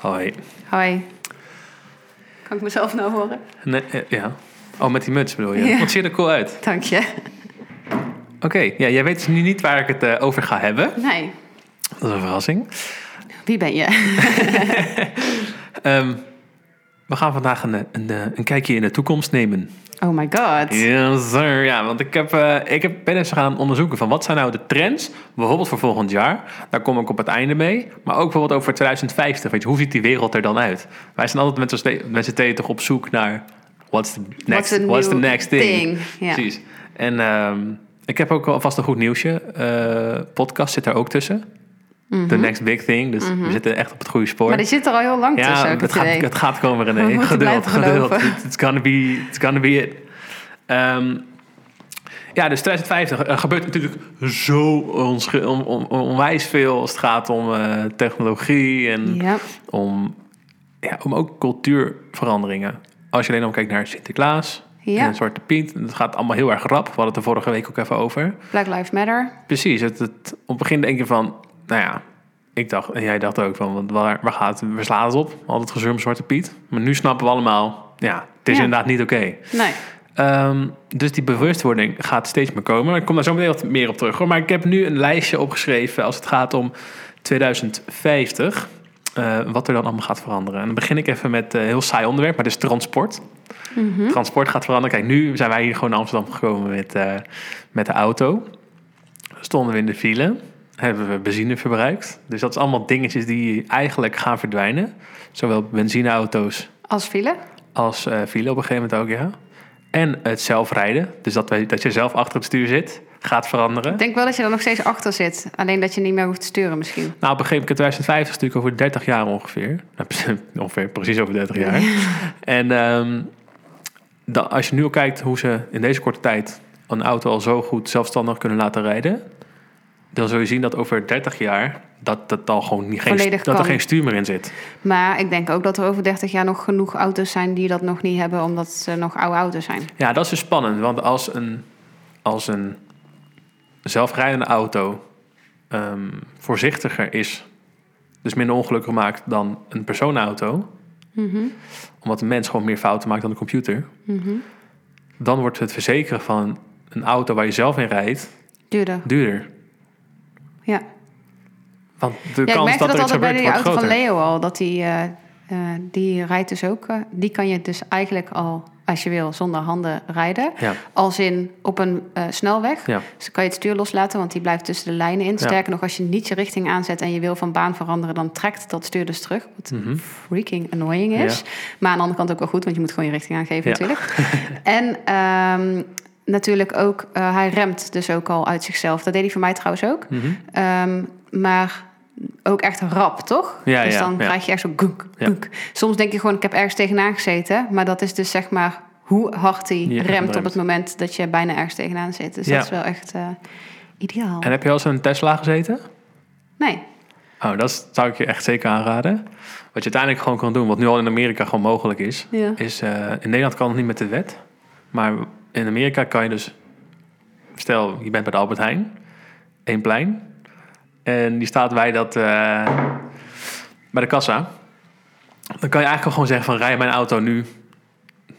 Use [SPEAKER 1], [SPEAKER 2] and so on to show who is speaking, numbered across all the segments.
[SPEAKER 1] Hoi.
[SPEAKER 2] Hoi. Kan ik mezelf nou horen?
[SPEAKER 1] Nee, eh, ja. Oh, met die muts bedoel je?
[SPEAKER 2] Ja.
[SPEAKER 1] Wat ziet er cool uit.
[SPEAKER 2] Dank je.
[SPEAKER 1] Oké, ja, jij weet dus nu niet waar ik het eh, over ga hebben.
[SPEAKER 2] Nee,
[SPEAKER 1] Dat is een verrassing.
[SPEAKER 2] wie ben je?
[SPEAKER 1] Ehm, we gaan vandaag een, een, eh, een kijkje in de toekomst nemen.
[SPEAKER 2] Oh my god.
[SPEAKER 1] Yes, sir. Ja, want ik, heb, eh, ik heb, ben eens gaan onderzoeken van wat zijn nou de trends, bijvoorbeeld voor volgend jaar. Daar kom ik op het einde mee. Maar ook bijvoorbeeld over 2050. Weet je, hoe ziet die wereld er dan uit? Wij zijn altijd met z'n ste- met z'n tweeën toch op zoek naar what's the next, what's
[SPEAKER 2] the
[SPEAKER 1] the
[SPEAKER 2] new
[SPEAKER 1] next thing.
[SPEAKER 2] thing? Ja.
[SPEAKER 1] Precies. En ehm, ik heb ook alvast een goed nieuwsje. Eh, podcast zit daar ook tussen. The next big thing. Dus we zitten echt op het goede spoor.
[SPEAKER 2] Mhm. Maar die zit er al heel lang tussen,
[SPEAKER 1] Ja,
[SPEAKER 2] heb ik
[SPEAKER 1] het
[SPEAKER 2] het
[SPEAKER 1] gaat,
[SPEAKER 2] idee.
[SPEAKER 1] het gaat komen, René.
[SPEAKER 2] We moeten
[SPEAKER 1] geduld,
[SPEAKER 2] blijven
[SPEAKER 1] geduld.
[SPEAKER 2] geloven.
[SPEAKER 1] It's gonna be, it's gonna be it. Ehm, ja, dus 2050 er gebeurt natuurlijk zo onsche- on- on- onwijs veel als het gaat om eh, technologie en
[SPEAKER 2] Ja.
[SPEAKER 1] om, ja, om ook cultuurveranderingen. Als je alleen al kijkt naar Sinterklaas
[SPEAKER 2] Ja.
[SPEAKER 1] en het Zwarte Piet, het gaat allemaal heel erg rap. We hadden het er vorige week ook even over.
[SPEAKER 2] Black Lives Matter.
[SPEAKER 1] Precies. Het, het, op het begin denk je van, nou ja, ik dacht en jij dacht ook van, want waar, waar gaat het, waar slaat het op? Altijd gezeur om Zwarte Piet. Maar nu snappen we allemaal, ja, het is
[SPEAKER 2] Ja.
[SPEAKER 1] inderdaad niet oké.
[SPEAKER 2] Nee.
[SPEAKER 1] Ehm, dus die bewustwording gaat steeds meer komen. Ik kom daar zo meteen wat meer op terug hoor. Maar ik heb nu een lijstje opgeschreven als het gaat om 2050. eh, wat er dan allemaal gaat veranderen. En dan begin ik even met eh, een heel saai onderwerp, maar dat is transport. Transport gaat veranderen. Kijk, nu zijn wij hier gewoon in Amsterdam gekomen met, eh, met de auto. Stonden we in de file, hebben we benzine verbruikt. Dus dat is allemaal dingetjes die eigenlijk gaan verdwijnen. Zowel benzineauto's
[SPEAKER 2] Als file.
[SPEAKER 1] als eh file op een gegeven moment ook, ja. En het zelfrijden, dus dat, wij, dat je zelf achter het stuur zit, gaat veranderen.
[SPEAKER 2] Ik denk wel dat je er nog steeds achter zit. Alleen dat je niet meer hoeft te sturen misschien.
[SPEAKER 1] Nou, op een gegeven moment, 2050 is natuurlijk over 30 jaar ongeveer. Nou, ongeveer, precies over 30 jaar. En ehm, da- als je nu al kijkt hoe ze in deze korte tijd een auto al zo goed zelfstandig kunnen laten rijden... dan zul je zien dat over 30 jaar dat, dat, al gewoon niet, geen,
[SPEAKER 2] Volledig
[SPEAKER 1] dat er
[SPEAKER 2] kan.
[SPEAKER 1] geen stuur meer in zit.
[SPEAKER 2] Maar ik denk ook dat er over 30 jaar nog genoeg auto's zijn die dat nog niet hebben, omdat ze nog oude auto's zijn.
[SPEAKER 1] Ja, dat is dus spannend. Want als een, als een zelfrijdende auto ehm, voorzichtiger is, dus minder ongelukken maakt dan een personenauto,
[SPEAKER 2] Mhm.
[SPEAKER 1] omdat een mens gewoon meer fouten maakt dan een computer, dan wordt het verzekeren van een auto waar je zelf in rijdt
[SPEAKER 2] Duurder.
[SPEAKER 1] duurder.
[SPEAKER 2] Ja.
[SPEAKER 1] Want de
[SPEAKER 2] Ja, ik
[SPEAKER 1] kans
[SPEAKER 2] merkte
[SPEAKER 1] dat,
[SPEAKER 2] dat
[SPEAKER 1] er iets
[SPEAKER 2] altijd bij
[SPEAKER 1] gebeurt
[SPEAKER 2] die
[SPEAKER 1] wordt
[SPEAKER 2] auto van
[SPEAKER 1] groter.
[SPEAKER 2] Leo al. Dat die, eh, eh, die rijdt dus ook. eh, die kan je dus eigenlijk al, als je wil, zonder handen rijden.
[SPEAKER 1] Ja.
[SPEAKER 2] Als in op een eh, snelweg.
[SPEAKER 1] Ja.
[SPEAKER 2] Dus dan kan je het stuur loslaten, want die blijft tussen de lijnen in. Sterker nog, als je niet je richting aanzet en je wil van baan veranderen, dan trekt dat stuur dus terug. Wat freaking annoying is.
[SPEAKER 1] Mhm. Ja.
[SPEAKER 2] Maar aan de andere kant ook wel goed, want je moet gewoon je richting aangeven
[SPEAKER 1] Ja.
[SPEAKER 2] natuurlijk. en ehm, natuurlijk ook, eh, hij remt dus ook al uit zichzelf. Dat deed hij voor mij trouwens ook.
[SPEAKER 1] Mhm.
[SPEAKER 2] Ehm, maar ook echt rap, toch?
[SPEAKER 1] Ja,
[SPEAKER 2] dus
[SPEAKER 1] ja,
[SPEAKER 2] dan
[SPEAKER 1] ja.
[SPEAKER 2] krijg je echt zo gunk,
[SPEAKER 1] Ja.
[SPEAKER 2] gunk. Soms denk je gewoon, ik heb ergens tegenaan gezeten. Maar dat is dus zeg maar hoe hard hij
[SPEAKER 1] Ja,
[SPEAKER 2] remt op
[SPEAKER 1] remt.
[SPEAKER 2] het moment dat je bijna ergens tegenaan zit. Dus
[SPEAKER 1] Ja.
[SPEAKER 2] dat is wel echt eh, ideaal.
[SPEAKER 1] En heb je al eens in een Tesla gezeten?
[SPEAKER 2] Nee,
[SPEAKER 1] Oh, dat is- zou ik je echt zeker aanraden. Wat je uiteindelijk gewoon kan doen, wat nu al in Amerika gewoon mogelijk is,
[SPEAKER 2] Ja.
[SPEAKER 1] is eh, in Nederland kan het niet met de wet. Maar in Amerika kan je dus, stel je bent bij de Albert Heijn, één plein, en die staat bij, dat, eh, bij de kassa. Dan kan je eigenlijk gewoon zeggen van rij mijn auto nu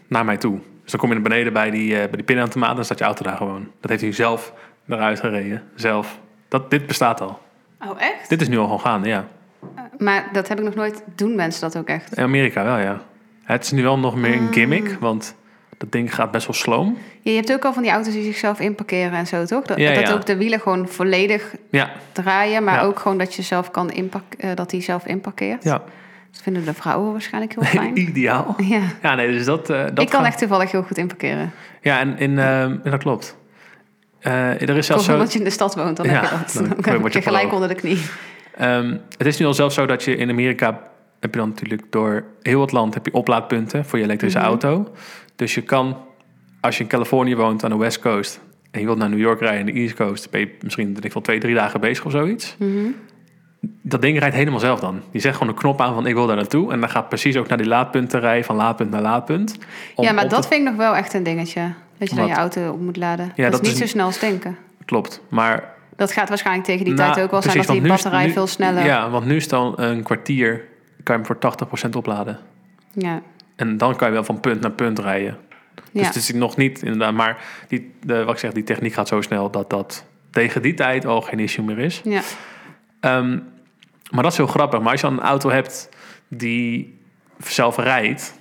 [SPEAKER 1] naar mij toe. Dus dan kom je naar beneden bij die, eh bij die pinautomaat en dan staat je auto daar gewoon. Dat heeft hij zelf eruit gereden, zelf. Dat, dit bestaat al.
[SPEAKER 2] oh echt?
[SPEAKER 1] Dit is nu al gewoon gaande, ja.
[SPEAKER 2] Maar dat heb ik nog nooit, doen mensen dat ook echt?
[SPEAKER 1] In Amerika wel, ja. Het is nu wel nog meer een gimmick, want dat ding gaat best wel sloom.
[SPEAKER 2] Ja, je hebt ook al van die auto's die zichzelf inparkeren en zo, toch? Dat,
[SPEAKER 1] Ja,
[SPEAKER 2] dat
[SPEAKER 1] ja.
[SPEAKER 2] ook de wielen gewoon volledig
[SPEAKER 1] Ja,
[SPEAKER 2] draaien, maar
[SPEAKER 1] Ja.
[SPEAKER 2] ook gewoon dat je zelf kan inpak, eh, dat hij zelf inparkeert.
[SPEAKER 1] ja.
[SPEAKER 2] Dat vinden de vrouwen waarschijnlijk heel fijn.
[SPEAKER 1] ideaal.
[SPEAKER 2] ja.
[SPEAKER 1] Ja, nee, dus dat... eh, dat
[SPEAKER 2] ik kan
[SPEAKER 1] gaat-
[SPEAKER 2] echt toevallig heel goed inparkeren.
[SPEAKER 1] Ja, en, in, ehm, en dat klopt. Eh, er is zelfs
[SPEAKER 2] Of
[SPEAKER 1] zo...
[SPEAKER 2] omdat je in de stad woont, dan heb
[SPEAKER 1] Ja,
[SPEAKER 2] je dat.
[SPEAKER 1] dan
[SPEAKER 2] Dan,
[SPEAKER 1] word
[SPEAKER 2] heb
[SPEAKER 1] je
[SPEAKER 2] je gelijk
[SPEAKER 1] pro.
[SPEAKER 2] onder de knie.
[SPEAKER 1] Ehm, het is nu al zelfs zo dat je in Amerika heb je dan natuurlijk door heel het land heb je oplaadpunten voor je elektrische
[SPEAKER 2] Mhm.
[SPEAKER 1] auto. Dus je kan, als je in Californië woont aan de West Coast en je wilt naar New York rijden aan de East Coast, ben je misschien denk ik wel twee, drie dagen bezig of zoiets.
[SPEAKER 2] Mhm.
[SPEAKER 1] Dat ding rijdt helemaal zelf dan. Je zegt gewoon een knop aan van ik wil daar naartoe. En dan gaat precies ook naar die laadpunten rijden, van laadpunt naar laadpunt. om
[SPEAKER 2] ja, maar
[SPEAKER 1] op te-
[SPEAKER 2] dat vind ik nog wel echt een dingetje. Dat je dan
[SPEAKER 1] Wat?
[SPEAKER 2] je auto op moet laden.
[SPEAKER 1] Ja,
[SPEAKER 2] dat,
[SPEAKER 1] dat
[SPEAKER 2] is
[SPEAKER 1] is
[SPEAKER 2] niet zo snel als denken.
[SPEAKER 1] Klopt. Maar
[SPEAKER 2] Dat gaat waarschijnlijk tegen die
[SPEAKER 1] Nou,
[SPEAKER 2] tijd ook wel zijn
[SPEAKER 1] precies,
[SPEAKER 2] dat die
[SPEAKER 1] want nu is-
[SPEAKER 2] batterij
[SPEAKER 1] nu-
[SPEAKER 2] veel sneller...
[SPEAKER 1] Ja, want nu is dan een kwartier kan je hem voor 80% opladen.
[SPEAKER 2] Ja.
[SPEAKER 1] En dan kan je wel van punt naar punt rijden. Dus
[SPEAKER 2] Ja.
[SPEAKER 1] het is nog niet inderdaad, maar die, de, wat ik zeg, die techniek gaat zo snel dat dat tegen die tijd al geen issue meer is.
[SPEAKER 2] ja.
[SPEAKER 1] Ehm, maar dat is heel grappig. Maar als je dan een auto hebt die zelf rijdt,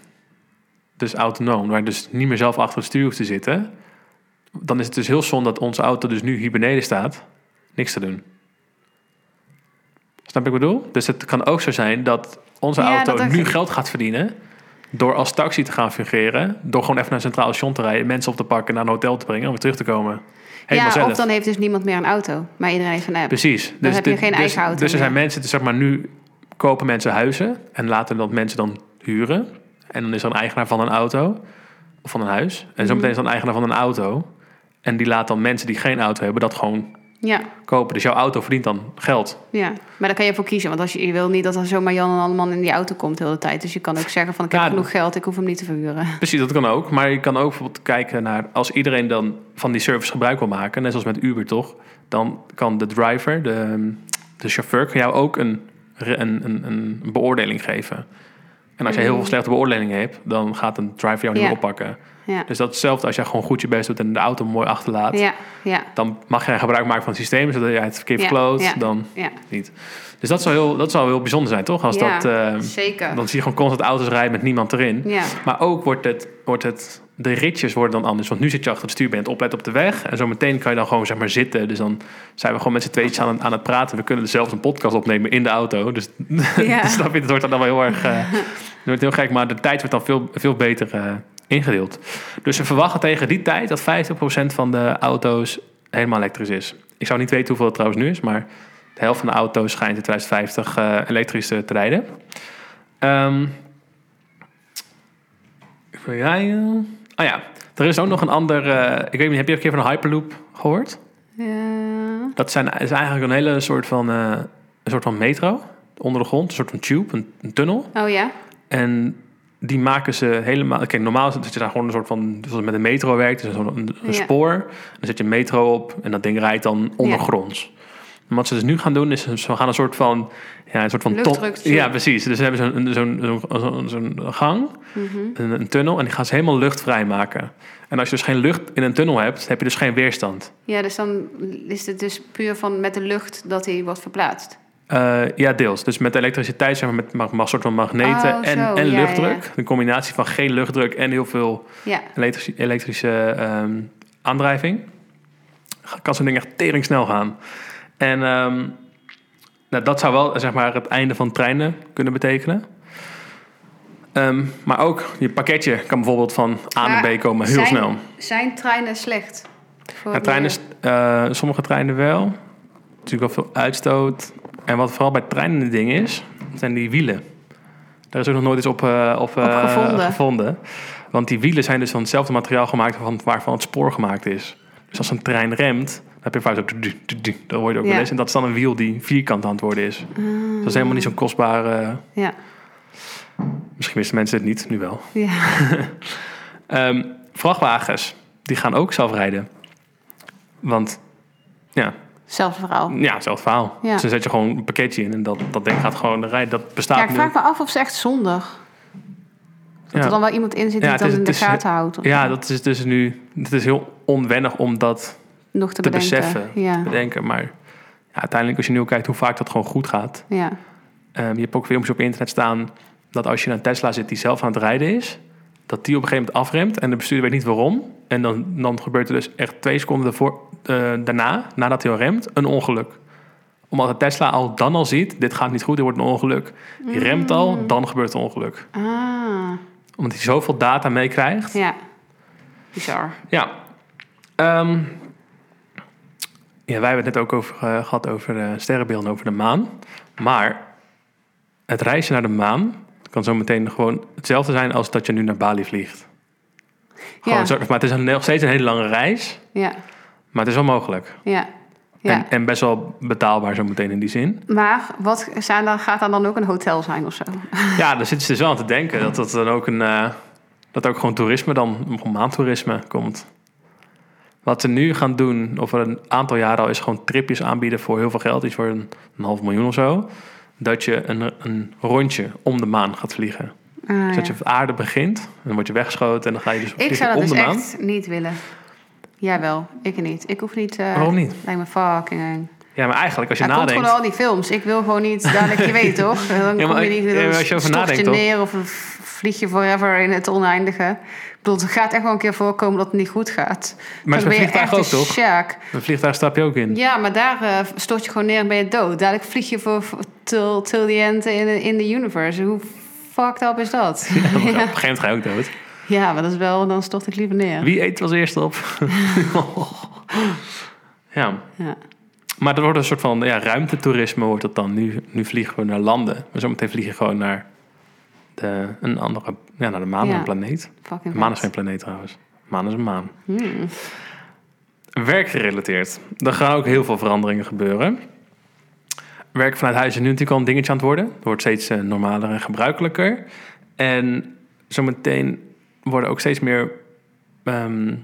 [SPEAKER 1] dus autonoom, waar je dus niet meer zelf achter het stuur hoeft te zitten, dan is het dus heel zonde dat onze auto dus nu hier beneden staat, niks te doen. Snap je wat ik bedoel? Dus het kan ook zo zijn dat onze
[SPEAKER 2] Ja,
[SPEAKER 1] auto
[SPEAKER 2] dat ook-
[SPEAKER 1] nu geld gaat verdienen door als taxi te gaan fungeren, door gewoon even naar een centraal station te rijden, mensen op te pakken, naar een hotel te brengen en weer terug te komen. Helemaal
[SPEAKER 2] ja
[SPEAKER 1] zelf.
[SPEAKER 2] of dan heeft dus niemand meer een auto, maar iedereen heeft een app.
[SPEAKER 1] Precies. Dus
[SPEAKER 2] heb je
[SPEAKER 1] dit-
[SPEAKER 2] geen
[SPEAKER 1] dus,
[SPEAKER 2] eigen auto
[SPEAKER 1] Dus er
[SPEAKER 2] meer.
[SPEAKER 1] zijn mensen, dus zeg maar nu kopen mensen huizen en laten dat mensen dan huren. En dan is er een eigenaar van een auto of van een huis. En
[SPEAKER 2] Mhm.
[SPEAKER 1] zometeen is er een eigenaar van een auto. En die laat dan mensen die geen auto hebben dat gewoon
[SPEAKER 2] Ja,
[SPEAKER 1] kopen. Dus jouw auto verdient dan geld.
[SPEAKER 2] ja, maar daar kan je voor kiezen. Want als je, je wil niet dat er zomaar Jan en Alleman in die auto komt de hele tijd. Dus je kan ook zeggen van ik heb
[SPEAKER 1] Ja,
[SPEAKER 2] genoeg geld, ik hoef hem niet te verhuren.
[SPEAKER 1] Precies, dat kan ook. Maar je kan ook bijvoorbeeld kijken naar als iedereen dan van die service gebruik wil maken, net zoals met Uber toch, dan kan de driver, de, de chauffeur, kan jou ook een, re- een, een, een beoordeling geven. En als je heel veel slechte beoordelingen hebt, dan gaat een driver jou niet
[SPEAKER 2] Mm. Ja.
[SPEAKER 1] meer oppakken.
[SPEAKER 2] Ja,
[SPEAKER 1] Dus dat is hetzelfde als jij gewoon goed je best doet en de auto mooi achterlaat.
[SPEAKER 2] ja, ja,
[SPEAKER 1] Dan mag jij gebruik maken van het systeem, zodat jij het verkeerd
[SPEAKER 2] Ja,
[SPEAKER 1] verkloot.
[SPEAKER 2] ja.
[SPEAKER 1] Dan
[SPEAKER 2] ja.
[SPEAKER 1] niet. Dus dat zou heel, dat zou heel bijzonder zijn, toch? Als
[SPEAKER 2] Ja,
[SPEAKER 1] dat, eh,
[SPEAKER 2] Zeker.
[SPEAKER 1] dan zie je gewoon constant auto's rijden met niemand erin.
[SPEAKER 2] Ja,
[SPEAKER 1] Maar ook wordt het, wordt het, de ritjes worden dan anders. Want nu zit je achter het stuur, ben je aan het opletten op de weg. En zo meteen kan je dan gewoon zeg maar zitten. Dus dan zijn we gewoon met z'n tweetjes aan, het- aan het praten. We kunnen zelfs een podcast opnemen in de auto. Dus
[SPEAKER 2] Ja.
[SPEAKER 1] snap je, het wordt dan wel heel erg... eh, het wordt heel gek, maar de tijd wordt dan veel, veel beter eh, ingedeeld. Dus ze verwachten tegen die tijd dat 50% van de auto's helemaal elektrisch is. Ik zou niet weten hoeveel het trouwens nu is, maar... De helft van de auto's schijnt in 2050 eh, elektrisch eh, te rijden. Ehm, Even rijden. Ah ja, er is ook nog een ander. eh, ik weet niet, heb je een keer van een Hyperloop gehoord?
[SPEAKER 2] ja.
[SPEAKER 1] Dat zijn, is eigenlijk een hele soort van, eh, een soort van metro onder de grond, een soort van tube, een, een tunnel.
[SPEAKER 2] Oh ja?
[SPEAKER 1] En die maken ze helemaal. Kijk, normaal is het dat je daar gewoon een soort van. Zoals het met een metro werkt, dus een, een
[SPEAKER 2] Ja.
[SPEAKER 1] spoor. Dan zet je een metro op en dat ding rijdt dan ondergronds. En Wat ze dus nu gaan doen, is ze gaan een soort van. Ja, een soort van top.
[SPEAKER 2] Luchtdruk-tube.
[SPEAKER 1] Ja, precies. Dus ze hebben zo'n zo'n zo'n zo'n- zo'n gang
[SPEAKER 2] Mhm.
[SPEAKER 1] een, een tunnel en die gaan ze helemaal luchtvrij maken. En als je dus geen lucht in een tunnel hebt, heb je dus geen weerstand.
[SPEAKER 2] Ja, dus dan is het dus puur van met de lucht dat hij wordt verplaatst.
[SPEAKER 1] Eh, ja, deels. Dus met elektriciteit, zeg maar, met ma- ma- soort van magneten
[SPEAKER 2] Oh,
[SPEAKER 1] en,
[SPEAKER 2] zo.
[SPEAKER 1] en
[SPEAKER 2] Ja,
[SPEAKER 1] luchtdruk.
[SPEAKER 2] ja,
[SPEAKER 1] Een combinatie van geen luchtdruk en heel veel
[SPEAKER 2] Ja,
[SPEAKER 1] elektrische, elektrische ehm, aandrijving. Kan zo'n ding echt tering snel gaan. En ehm, nou, dat zou wel zeg maar, het einde van treinen kunnen betekenen. Ehm, maar ook je pakketje kan bijvoorbeeld van A naar
[SPEAKER 2] Maar
[SPEAKER 1] B komen, heel
[SPEAKER 2] zijn-
[SPEAKER 1] snel.
[SPEAKER 2] zijn treinen slecht? Voor
[SPEAKER 1] Ja,
[SPEAKER 2] het
[SPEAKER 1] treinen,
[SPEAKER 2] milieu?
[SPEAKER 1] eh, sommige treinen wel. Er is Natuurlijk wel veel uitstoot. En wat vooral bij treinen het ding is, zijn die wielen. Daar is ook nog nooit iets op, eh, op, eh,
[SPEAKER 2] gevonden.
[SPEAKER 1] gevonden. Want die wielen zijn dus van hetzelfde materiaal gemaakt van, waarvan het spoor gemaakt is. Dus als een trein remt, dan heb je vaak zo... du- du- du- du. Dat hoor je ook
[SPEAKER 2] Ja.
[SPEAKER 1] wel eens. En dat is dan een wiel die vierkant aan het worden is. Dus dat is helemaal niet zo'n kostbare...
[SPEAKER 2] Ja,
[SPEAKER 1] misschien wisten mensen het niet, nu wel.
[SPEAKER 2] ja.
[SPEAKER 1] Ehm, vrachtwagens, die gaan ook zelf rijden. Want ja,
[SPEAKER 2] Zelfde verhaal.
[SPEAKER 1] Ja, hetzelfde verhaal.
[SPEAKER 2] Ja.
[SPEAKER 1] Dus dan zet je gewoon een pakketje in en dat, dat ding gaat gewoon rijden. Dat
[SPEAKER 2] Ja,
[SPEAKER 1] bestaat
[SPEAKER 2] ik
[SPEAKER 1] nu.
[SPEAKER 2] vraag me af of ze echt zondig. Dat
[SPEAKER 1] Ja.
[SPEAKER 2] er dan wel iemand in zit die
[SPEAKER 1] Ja,
[SPEAKER 2] het
[SPEAKER 1] het
[SPEAKER 2] dan
[SPEAKER 1] is-
[SPEAKER 2] in de
[SPEAKER 1] het is-
[SPEAKER 2] gaten houdt. of
[SPEAKER 1] ja, dat is dus nu. Het is heel onwennig om dat
[SPEAKER 2] nog te,
[SPEAKER 1] te
[SPEAKER 2] bedenken.
[SPEAKER 1] beseffen.
[SPEAKER 2] Ja,
[SPEAKER 1] te bedenken. Maar ja, uiteindelijk, als je nu ook kijkt hoe vaak dat gewoon goed gaat.
[SPEAKER 2] ja.
[SPEAKER 1] Ehm, je hebt ook filmpjes op internet staan dat als je in een Tesla zit die zelf aan het rijden is, dat die op een gegeven moment afremt en de bestuurder weet niet waarom. En dan, dan gebeurt er dus echt twee seconden daarvoor, eh, daarna, nadat hij al remt, een ongeluk. Omdat de Tesla al dan al ziet, dit gaat niet goed, er wordt een ongeluk. Die remt
[SPEAKER 2] Mm.
[SPEAKER 1] al, dan gebeurt het ongeluk.
[SPEAKER 2] Ah,
[SPEAKER 1] Omdat hij zoveel data meekrijgt.
[SPEAKER 2] ja. Bizar.
[SPEAKER 1] Ja. Ehm, ja, wij hebben het net ook over, eh, gehad over eh, sterrenbeelden over de maan. Maar het reizen naar de maan kan zometeen gewoon hetzelfde zijn als dat je nu naar Bali vliegt. Gewoon
[SPEAKER 2] Ja.
[SPEAKER 1] zo- maar het is een- nog steeds een hele lange reis,
[SPEAKER 2] Ja,
[SPEAKER 1] maar het is wel mogelijk.
[SPEAKER 2] ja. ja.
[SPEAKER 1] En, en best wel betaalbaar zometeen in die zin.
[SPEAKER 2] Maar wat zijn dan, gaat daar dan ook een hotel zijn of zo?
[SPEAKER 1] Ja, daar zitten ze dus wel aan te denken dat dat dan ook een... eh, dat ook gewoon toerisme dan, gewoon maantoerisme komt. Wat ze nu gaan doen, of een aantal jaren al, is gewoon tripjes aanbieden voor heel veel geld. Iets voor een, een half miljoen of zo. dat je een, een rondje om de maan gaat vliegen.
[SPEAKER 2] Ah,
[SPEAKER 1] Dus dat
[SPEAKER 2] ja.
[SPEAKER 1] je op aarde begint, dan word je weggeschoten en dan ga je dus
[SPEAKER 2] Ik
[SPEAKER 1] vliegen
[SPEAKER 2] zou
[SPEAKER 1] om
[SPEAKER 2] dat dus
[SPEAKER 1] de maan.
[SPEAKER 2] echt niet willen. Jawel, ik niet. Ik hoef niet... eh,
[SPEAKER 1] Waarom niet?
[SPEAKER 2] Lijkt me fucking eng.
[SPEAKER 1] Ja, maar eigenlijk als je
[SPEAKER 2] Hij komt
[SPEAKER 1] nadenkt...
[SPEAKER 2] gewoon al die films. Ik wil gewoon niet dadelijk, je weet toch? Dan
[SPEAKER 1] Ja, maar
[SPEAKER 2] kom je
[SPEAKER 1] ik-
[SPEAKER 2] niet
[SPEAKER 1] ja,
[SPEAKER 2] dan
[SPEAKER 1] maar als je over
[SPEAKER 2] stort
[SPEAKER 1] nadenkt,
[SPEAKER 2] je
[SPEAKER 1] toch?
[SPEAKER 2] neer of vlieg je forever in het oneindige. Ik bedoel, het gaat echt wel een keer voorkomen dat het niet goed gaat.
[SPEAKER 1] Maar
[SPEAKER 2] Dan
[SPEAKER 1] zo'n
[SPEAKER 2] ben je
[SPEAKER 1] vliegtuig
[SPEAKER 2] echt een
[SPEAKER 1] ook, toch?
[SPEAKER 2] sjaak.
[SPEAKER 1] Een vliegtuig stap je ook in.
[SPEAKER 2] Ja, maar daar eh, stort je gewoon neer en ben je dood. Dadelijk vlieg je voor voor- till, till the end in, in the universe. Hoe fucked up is dat?
[SPEAKER 1] Ja, maar Op een gegeven moment ga je ook dood.
[SPEAKER 2] ja, maar dat is wel, dan stort ik liever neer.
[SPEAKER 1] Wie eet als eerste op? ja,
[SPEAKER 2] Ja.
[SPEAKER 1] maar dat wordt een soort van ja, ruimtetoerisme wordt dat dan. Nu, nu vliegen we naar landen. Maar zometeen vliegen we gewoon naar de, een andere, ja, naar de maan,
[SPEAKER 2] Ja.
[SPEAKER 1] een planeet.
[SPEAKER 2] Fucking
[SPEAKER 1] De maan is
[SPEAKER 2] vet.
[SPEAKER 1] geen planeet trouwens. De maan is een maan.
[SPEAKER 2] Hmm.
[SPEAKER 1] Werkgerelateerd. Er gaan ook heel veel veranderingen gebeuren. Werk vanuit huis is nu natuurlijk al een dingetje aan het worden. Het wordt steeds eh, normaler en gebruikelijker. En zometeen worden ook steeds meer ehm,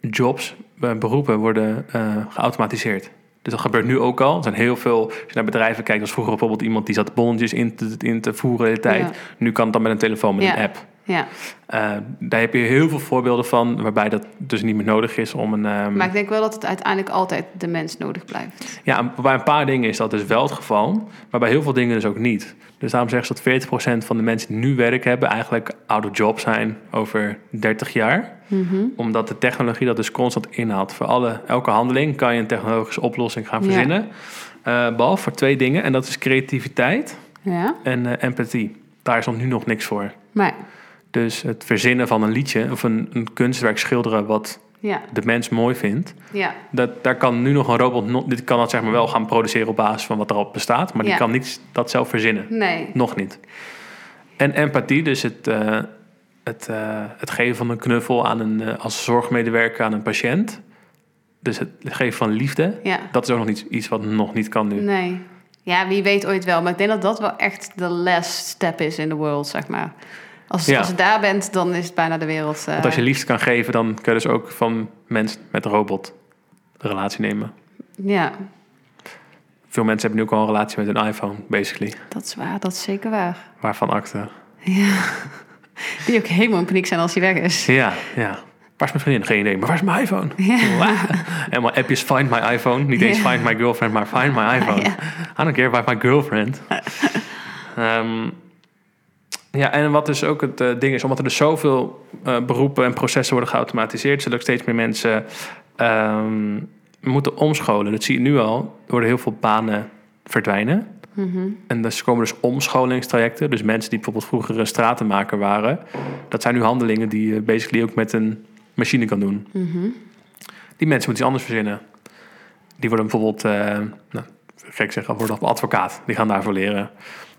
[SPEAKER 1] jobs, eh, beroepen worden eh, geautomatiseerd. Dus dat gebeurt nu ook al. Er zijn heel veel, als je naar bedrijven kijkt, was vroeger bijvoorbeeld iemand die zat bonnetjes in te, in te voeren de hele tijd.
[SPEAKER 2] Ja.
[SPEAKER 1] Nu kan het dan met een telefoon, met
[SPEAKER 2] Ja.
[SPEAKER 1] een app.
[SPEAKER 2] Ja,
[SPEAKER 1] Eh, daar heb je heel veel voorbeelden van, waarbij dat dus niet meer nodig is om een. ehm,
[SPEAKER 2] maar ik denk wel dat het uiteindelijk altijd de mens nodig blijft.
[SPEAKER 1] Ja, bij een paar dingen is dat dus wel het geval, maar bij heel veel dingen dus ook niet. Dus daarom zeggen ze dat 40% van de mensen die nu werk hebben, eigenlijk out of job zijn over 30 jaar.
[SPEAKER 2] Mhm.
[SPEAKER 1] Omdat de technologie dat dus constant inhaalt. Voor alle, elke handeling kan je een technologische oplossing gaan
[SPEAKER 2] Ja.
[SPEAKER 1] verzinnen. Eh, behalve voor twee dingen, en dat is creativiteit
[SPEAKER 2] Ja,
[SPEAKER 1] en eh, empathie. Daar is nog nu nog niks voor.
[SPEAKER 2] maar
[SPEAKER 1] Dus het verzinnen van een liedje of een, een kunstwerk schilderen wat
[SPEAKER 2] ja,
[SPEAKER 1] de mens mooi vindt.
[SPEAKER 2] ja.
[SPEAKER 1] Dat, daar kan nu nog een robot, no- dit kan dat zeg maar wel gaan produceren op basis van wat er al bestaat, maar die
[SPEAKER 2] Ja.
[SPEAKER 1] kan niet dat zelf verzinnen.
[SPEAKER 2] Nee.
[SPEAKER 1] Nog niet. En empathie, dus het, eh, het, eh, het geven van een knuffel aan een, eh, als zorgmedewerker aan een patiënt. Dus het geven van liefde.
[SPEAKER 2] Ja.
[SPEAKER 1] Dat is ook nog iets, iets wat nog niet kan nu.
[SPEAKER 2] Nee. Ja, wie weet ooit wel. Maar ik denk dat dat wel echt de last step is in the world, zeg maar. Als,
[SPEAKER 1] Ja.
[SPEAKER 2] als je daar bent, dan is het bijna de wereld. eh,
[SPEAKER 1] Want als je liefde kan geven, dan kun je dus ook van mens met robot een relatie nemen.
[SPEAKER 2] Ja,
[SPEAKER 1] Veel mensen hebben nu ook al een relatie met een iPhone, basically.
[SPEAKER 2] dat is waar. Dat is zeker waar.
[SPEAKER 1] Waarvan akte.
[SPEAKER 2] Die ook helemaal in paniek zijn als hij weg is.
[SPEAKER 1] Ja, ja. Waar is mijn vriendin? Geen idee. Maar waar is mijn iPhone? Wah. En mijn app is Find My iPhone. Niet eens
[SPEAKER 2] Ja.
[SPEAKER 1] Find My Girlfriend, maar Find My iPhone.
[SPEAKER 2] Ja.
[SPEAKER 1] I don't care about my girlfriend. Ehm, ja, en wat dus ook het eh, ding is... omdat er dus zoveel eh, beroepen en processen worden geautomatiseerd... zullen ook steeds meer mensen ehm, moeten omscholen. Dat zie je nu al. Er worden heel veel banen verdwijnen.
[SPEAKER 2] Mhm.
[SPEAKER 1] En dus komen dus omscholingstrajecten. Dus mensen die bijvoorbeeld vroeger een stratenmaker waren. Dat zijn nu handelingen die je basically ook met een machine kan doen.
[SPEAKER 2] Mhm.
[SPEAKER 1] Die mensen moeten iets anders verzinnen. Die worden bijvoorbeeld, eh, nou, gek zeggen, worden advocaat. Die gaan daarvoor leren.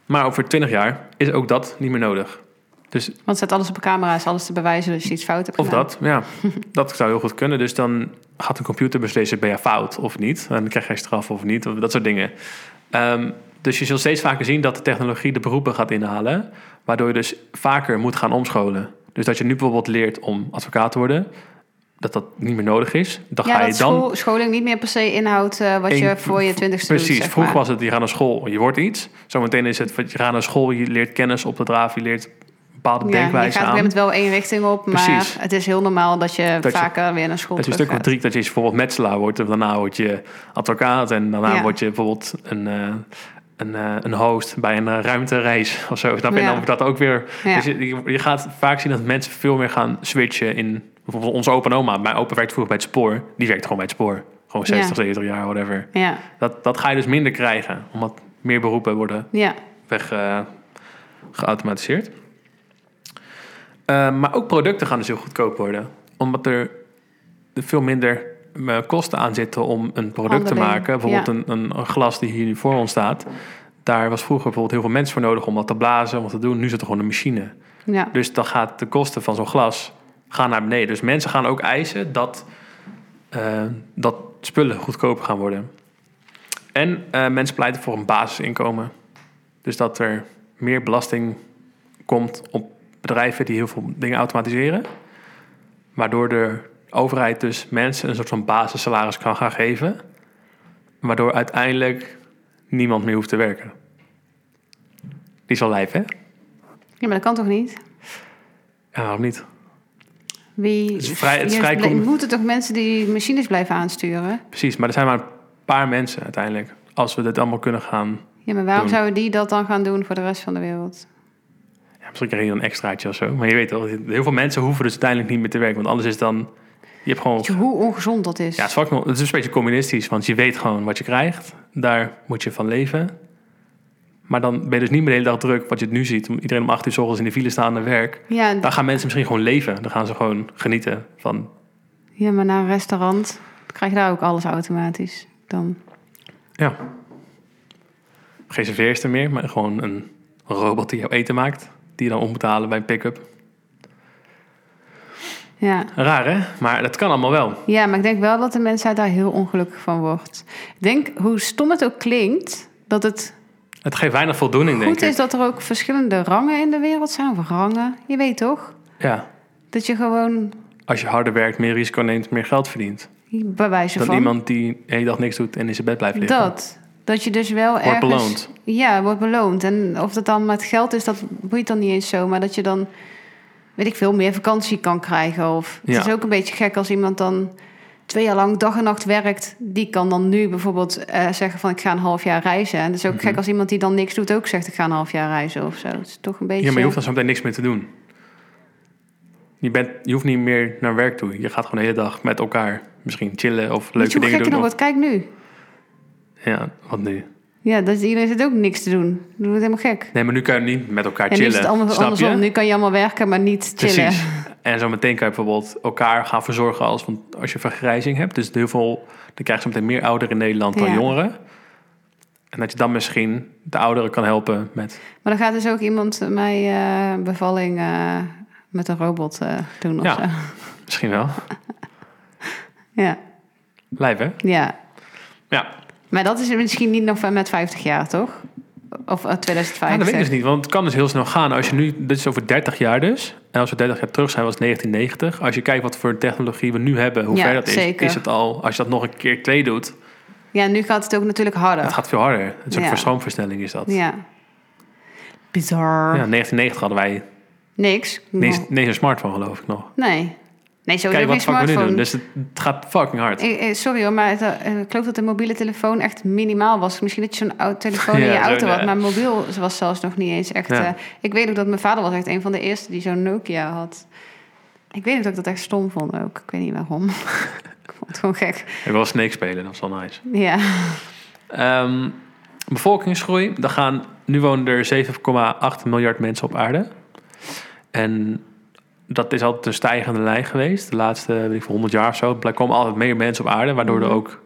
[SPEAKER 1] Maar over 20 jaar is ook dat niet meer nodig. Dus
[SPEAKER 2] Want zet alles op camera, is alles te bewijzen dat je iets fout hebt
[SPEAKER 1] of
[SPEAKER 2] gedaan.
[SPEAKER 1] dat, ja, dat zou heel goed kunnen. Dus dan gaat een computer beslissen, ben je fout of niet? En dan krijg je straf of niet, of dat soort dingen. Ehm, dus je zult steeds vaker zien dat de technologie de beroepen gaat inhalen... waardoor je dus vaker moet gaan omscholen. Dus dat je nu bijvoorbeeld leert om advocaat te worden... dat dat niet meer nodig is. Dan
[SPEAKER 2] Ja,
[SPEAKER 1] ga je
[SPEAKER 2] dat
[SPEAKER 1] dan...
[SPEAKER 2] school- scholing niet meer per se inhoudt eh, wat
[SPEAKER 1] Eén-
[SPEAKER 2] je voor je twintigste doet.
[SPEAKER 1] Precies,
[SPEAKER 2] zeg
[SPEAKER 1] vroeg
[SPEAKER 2] maar.
[SPEAKER 1] was het, je gaat naar school, je wordt iets. Zometeen is het, je gaat naar school, je leert kennis op de draaf... je leert bepaalde
[SPEAKER 2] Ja, je gaat op een
[SPEAKER 1] denkwijzen
[SPEAKER 2] gegeven
[SPEAKER 1] aan.
[SPEAKER 2] moment wel één richting op, maar
[SPEAKER 1] Precies.
[SPEAKER 2] het is heel normaal dat je
[SPEAKER 1] Dat je-
[SPEAKER 2] vaker weer naar school
[SPEAKER 1] Dat je een stuk
[SPEAKER 2] terug
[SPEAKER 1] of
[SPEAKER 2] gaat.
[SPEAKER 1] drie, dat je bijvoorbeeld metselaar wordt, en daarna word je advocaat en daarna
[SPEAKER 2] Ja.
[SPEAKER 1] word je bijvoorbeeld een, eh, een, eh, een host bij een eh, ruimtereis of zo. Snap je? En
[SPEAKER 2] Ja.
[SPEAKER 1] dan wordt dat ook weer.
[SPEAKER 2] Ja.
[SPEAKER 1] Dus je, je- je gaat vaak zien dat mensen veel meer gaan switchen in bijvoorbeeld onze opa en oma. Mijn opa werkt vroeger bij het spoor, die werkt gewoon bij het spoor. Gewoon 60,
[SPEAKER 2] Ja.
[SPEAKER 1] 70 jaar, whatever.
[SPEAKER 2] Ja,
[SPEAKER 1] Dat, dat ga je dus minder krijgen, omdat meer beroepen worden
[SPEAKER 2] ja.
[SPEAKER 1] weg eh, geautomatiseerd. Eh, maar ook producten gaan dus heel goedkoop worden. Omdat er veel minder eh, kosten aan zitten om een product te
[SPEAKER 2] Handeling,
[SPEAKER 1] maken. Bijvoorbeeld
[SPEAKER 2] ja.
[SPEAKER 1] een, een, een glas die hier nu voor ons staat. Daar was vroeger bijvoorbeeld heel veel mensen voor nodig om dat te blazen, om dat te doen. Nu zit er gewoon een machine.
[SPEAKER 2] ja.
[SPEAKER 1] Dus dan gaat de kosten van zo'n glas gaan naar beneden. Dus mensen gaan ook eisen dat, eh, dat spullen goedkoper gaan worden. En eh, mensen pleiten voor een basisinkomen. Dus dat er meer belasting komt op bedrijven die heel veel dingen automatiseren. Waardoor de overheid dus mensen een soort van basissalaris kan gaan geven. Waardoor uiteindelijk niemand meer hoeft te werken. Die is al lijf, hè?
[SPEAKER 2] Ja, maar dat kan toch niet?
[SPEAKER 1] Ja, waarom niet?
[SPEAKER 2] Wie,
[SPEAKER 1] Het is vrij- het is
[SPEAKER 2] je
[SPEAKER 1] vrij
[SPEAKER 2] blij-
[SPEAKER 1] com-
[SPEAKER 2] moeten toch mensen die machines blijven aansturen?
[SPEAKER 1] Precies, maar er zijn maar een paar mensen uiteindelijk. Als we dit allemaal kunnen gaan...
[SPEAKER 2] Ja, maar waarom
[SPEAKER 1] Doen.
[SPEAKER 2] zouden die dat dan gaan doen voor de rest van de wereld?
[SPEAKER 1] Ja, misschien krijg je dan een extraatje of zo. Maar je weet wel, heel veel mensen hoeven dus uiteindelijk niet meer te werken. Want anders is dan... Je hebt gewoon...
[SPEAKER 2] Weet je hoe ongezond dat is?
[SPEAKER 1] Ja, het is, vaak nog- het is een beetje communistisch, want je weet gewoon wat je krijgt. Daar moet je van leven. Maar dan ben je dus niet meer de hele dag druk, wat je het nu ziet. om Iedereen om acht uur 's ochtends in de file staan naar werk.
[SPEAKER 2] Ja,
[SPEAKER 1] Dan gaan mensen misschien gewoon leven. Dan gaan ze gewoon genieten van...
[SPEAKER 2] ja, maar naar een restaurant krijg je daar ook alles automatisch. Dan.
[SPEAKER 1] Ja. Geen serveerster meer, maar gewoon een robot die jouw eten maakt. Die je dan om moet halen bij een pick-up.
[SPEAKER 2] Ja.
[SPEAKER 1] Raar, hè? Maar dat kan allemaal wel.
[SPEAKER 2] ja, maar ik denk wel dat de mensheid daar heel ongelukkig van wordt. Ik denk, hoe stom het ook klinkt, dat het
[SPEAKER 1] Het geeft weinig voldoening, denk
[SPEAKER 2] goed
[SPEAKER 1] ik.
[SPEAKER 2] is dat er ook verschillende rangen in de wereld zijn. Of rangen, je weet toch?
[SPEAKER 1] Ja.
[SPEAKER 2] Dat je gewoon
[SPEAKER 1] Als je harder werkt, meer risico neemt, meer geld verdient.
[SPEAKER 2] bij wijze
[SPEAKER 1] Dan
[SPEAKER 2] van...
[SPEAKER 1] iemand die de hele dag niks doet en in zijn bed blijft liggen.
[SPEAKER 2] Dat. Dat je dus wel
[SPEAKER 1] Wordt
[SPEAKER 2] ergens...
[SPEAKER 1] beloond.
[SPEAKER 2] Ja, wordt beloond. En of dat dan met geld is, dat boeit dan niet eens zo. Maar dat je dan, weet ik veel, meer vakantie kan krijgen. Of het
[SPEAKER 1] Ja.
[SPEAKER 2] is ook een beetje gek als iemand dan twee jaar lang dag en nacht werkt. Die kan dan nu bijvoorbeeld eh, zeggen van ik ga een half jaar reizen. En dat
[SPEAKER 1] Mhm.
[SPEAKER 2] is ook gek als iemand die dan niks doet ook zegt ik ga een half jaar reizen of zo. Het is toch een beetje...
[SPEAKER 1] Ja, maar je hoeft dan zo meteen niks meer te doen. Je, bent, je hoeft niet meer naar werk toe. Je gaat gewoon de hele dag met elkaar misschien chillen of
[SPEAKER 2] Weet je
[SPEAKER 1] leuke
[SPEAKER 2] hoe
[SPEAKER 1] dingen
[SPEAKER 2] gek je nou
[SPEAKER 1] doen.
[SPEAKER 2] nog
[SPEAKER 1] of-
[SPEAKER 2] wordt? Kijk nu.
[SPEAKER 1] Ja, wat nu?
[SPEAKER 2] Ja, dat is, iedereen zit ook niks te doen. Dat wordt helemaal gek.
[SPEAKER 1] Nee, maar nu kan je niet met elkaar
[SPEAKER 2] En nu
[SPEAKER 1] chillen.
[SPEAKER 2] is het allemaal
[SPEAKER 1] snap
[SPEAKER 2] andersom.
[SPEAKER 1] je?
[SPEAKER 2] Nu kan je allemaal werken, maar niet chillen.
[SPEAKER 1] Precies. En zo meteen kan je bijvoorbeeld elkaar gaan verzorgen als, want als je vergrijzing hebt. Dus heel veel, dan krijg je zo meteen meer ouderen in Nederland dan
[SPEAKER 2] Ja.
[SPEAKER 1] jongeren. En dat je dan misschien de ouderen kan helpen met...
[SPEAKER 2] Maar dan gaat dus ook iemand mij eh, bevalling eh, met een robot eh, doen of
[SPEAKER 1] Ja.
[SPEAKER 2] zo.
[SPEAKER 1] Misschien wel.
[SPEAKER 2] Ja,
[SPEAKER 1] Lijf, hè?
[SPEAKER 2] ja.
[SPEAKER 1] Ja.
[SPEAKER 2] Maar dat is misschien niet nog van met 50 jaar, toch? Of eh,
[SPEAKER 1] Ja, dat
[SPEAKER 2] 2050.
[SPEAKER 1] weet ik dus niet, want het kan dus heel snel gaan. Als je nu, dit is over 30 jaar dus. En als we 30 jaar terug zijn, was het 1990. Als je kijkt wat voor technologie we nu hebben, hoe
[SPEAKER 2] Ja,
[SPEAKER 1] ver dat is,
[SPEAKER 2] zeker.
[SPEAKER 1] is het al, als je dat nog een keer twee doet,
[SPEAKER 2] ja, nu gaat het ook natuurlijk harder.
[SPEAKER 1] het gaat veel harder. Het is een
[SPEAKER 2] Ja.
[SPEAKER 1] soort stroomversnelling is dat. Ja.
[SPEAKER 2] Ja. Bizar.
[SPEAKER 1] 1990 hadden wij
[SPEAKER 2] Niks.
[SPEAKER 1] niet eens- niet eens een smartphone, geloof ik nog.
[SPEAKER 2] Nee. Nee, sowieso
[SPEAKER 1] Kijk
[SPEAKER 2] geen
[SPEAKER 1] wat fuck we nu
[SPEAKER 2] smartphone.
[SPEAKER 1] doen. Dus het, het gaat fucking hard.
[SPEAKER 2] Ik- eh, sorry hoor, maar het, eh, ik geloof dat de mobiele telefoon echt minimaal was. Misschien dat je zo'n oude telefoon in
[SPEAKER 1] Ja,
[SPEAKER 2] je
[SPEAKER 1] zo,
[SPEAKER 2] auto
[SPEAKER 1] ja.
[SPEAKER 2] had, maar mobiel was zelfs nog niet eens echt...
[SPEAKER 1] Ja.
[SPEAKER 2] eh, ik weet ook dat mijn vader was echt een van de eerste die zo'n Nokia had. Ik weet ook dat ik dat echt stom vond ook. Ik weet niet waarom. ik vond het gewoon gek.
[SPEAKER 1] Ik wil Snake spelen, dat is wel nice.
[SPEAKER 2] Ja,
[SPEAKER 1] Ehm, bevolkingsgroei. Er gaan, nu wonen er 7,8 miljard mensen op aarde. En dat is altijd een stijgende lijn geweest. De laatste weet ik, veel, 100 jaar of zo. Er komen altijd meer mensen op aarde, waardoor er
[SPEAKER 2] Mhm.
[SPEAKER 1] ook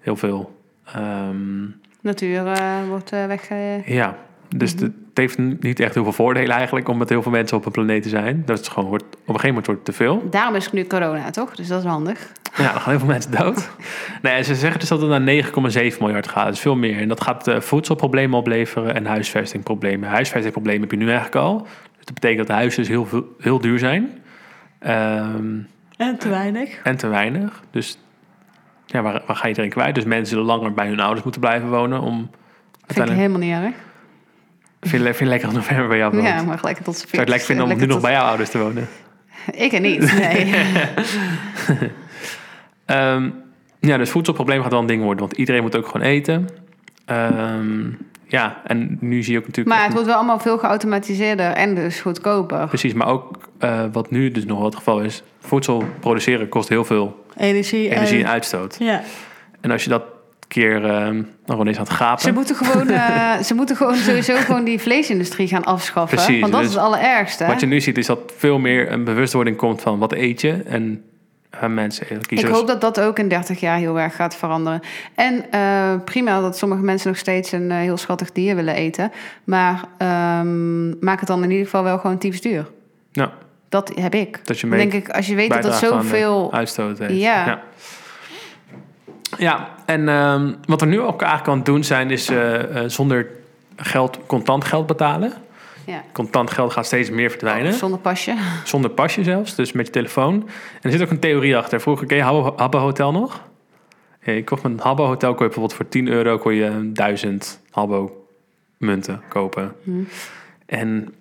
[SPEAKER 1] heel veel. ehm,
[SPEAKER 2] natuur eh, wordt eh, wegge...
[SPEAKER 1] ja, dus
[SPEAKER 2] Mhm.
[SPEAKER 1] het het heeft niet echt heel veel voordelen eigenlijk om met heel veel mensen op een planeet te zijn. Dat is gewoon, wordt, op een gegeven moment wordt het te veel.
[SPEAKER 2] Daarom is het nu corona, toch? Dus dat is handig.
[SPEAKER 1] Ja, dan gaan heel veel mensen dood. Nee, en ze zeggen dus dat het naar 9,7 miljard gaat. Dat is veel meer. En dat gaat eh, voedselproblemen opleveren en huisvestingproblemen. Huisvestingproblemen heb je nu eigenlijk al. Dus dat betekent dat de huizen dus heel, veel- heel duur zijn. Ehm,
[SPEAKER 2] En te weinig.
[SPEAKER 1] en te weinig. Dus ja, waar, waar ga je iedereen kwijt? Dus mensen zullen langer bij hun ouders moeten blijven wonen. Om
[SPEAKER 2] Vind ik
[SPEAKER 1] uiteindelijk...
[SPEAKER 2] helemaal niet erg.
[SPEAKER 1] Vind je, vind je lekker in november bij jou woont?
[SPEAKER 2] Ja,
[SPEAKER 1] Zou
[SPEAKER 2] maar gelijk tot ze
[SPEAKER 1] je het lekker vinden om nu nog bij jouw ouders te wonen?
[SPEAKER 2] Ik en niet, nee.
[SPEAKER 1] Ehm, ja, dus voedselprobleem gaat wel een ding worden, want iedereen moet ook gewoon eten. Ehm, ja, en nu zie je ook natuurlijk.
[SPEAKER 2] maar het wordt wel allemaal veel geautomatiseerder en dus goedkoper.
[SPEAKER 1] Precies, maar ook eh, wat nu dus nog wel het geval is: voedsel produceren kost heel veel
[SPEAKER 2] Energie,
[SPEAKER 1] energie en uitstoot.
[SPEAKER 2] Ja.
[SPEAKER 1] En als je dat keer ehm gewoon eens aan het gapen.
[SPEAKER 2] Ze moeten, gewoon, eh, ze moeten gewoon sowieso gewoon die vleesindustrie gaan afschaffen.
[SPEAKER 1] Precies,
[SPEAKER 2] want dat
[SPEAKER 1] dus
[SPEAKER 2] is het allerergste.
[SPEAKER 1] Wat je nu ziet, is dat veel meer een bewustwording komt van wat eet je en eh, mensen kiezen.
[SPEAKER 2] Ik
[SPEAKER 1] dus-
[SPEAKER 2] hoop dat dat ook in 30 jaar heel erg gaat veranderen. En eh, prima dat sommige mensen nog steeds een eh, heel schattig dier willen eten. Maar ehm, maak het dan in ieder geval wel gewoon typisch duur.
[SPEAKER 1] Ja.
[SPEAKER 2] Dat heb ik.
[SPEAKER 1] dat je
[SPEAKER 2] Dan
[SPEAKER 1] mee
[SPEAKER 2] denk ik, als je weet dat dat
[SPEAKER 1] bijdraagt aan de
[SPEAKER 2] zoveel...
[SPEAKER 1] uitstoot heeft.
[SPEAKER 2] Ja.
[SPEAKER 1] ja. Ja, en ehm, wat we nu ook eigenlijk aan het doen zijn, is eh, eh, zonder geld, contant geld betalen.
[SPEAKER 2] Ja. Oh,
[SPEAKER 1] Contant geld gaat steeds meer verdwijnen.
[SPEAKER 2] Zonder pasje.
[SPEAKER 1] Zonder pasje zelfs, dus met je telefoon. En er zit ook een theorie achter. Vroeger, ken je Habbo, Habbo Hotel nog? Eh, Ik kocht mijn Habbo Hotel, kon je bijvoorbeeld voor 10 euro kon je 1000 halbo munten kopen.
[SPEAKER 2] Hm.
[SPEAKER 1] En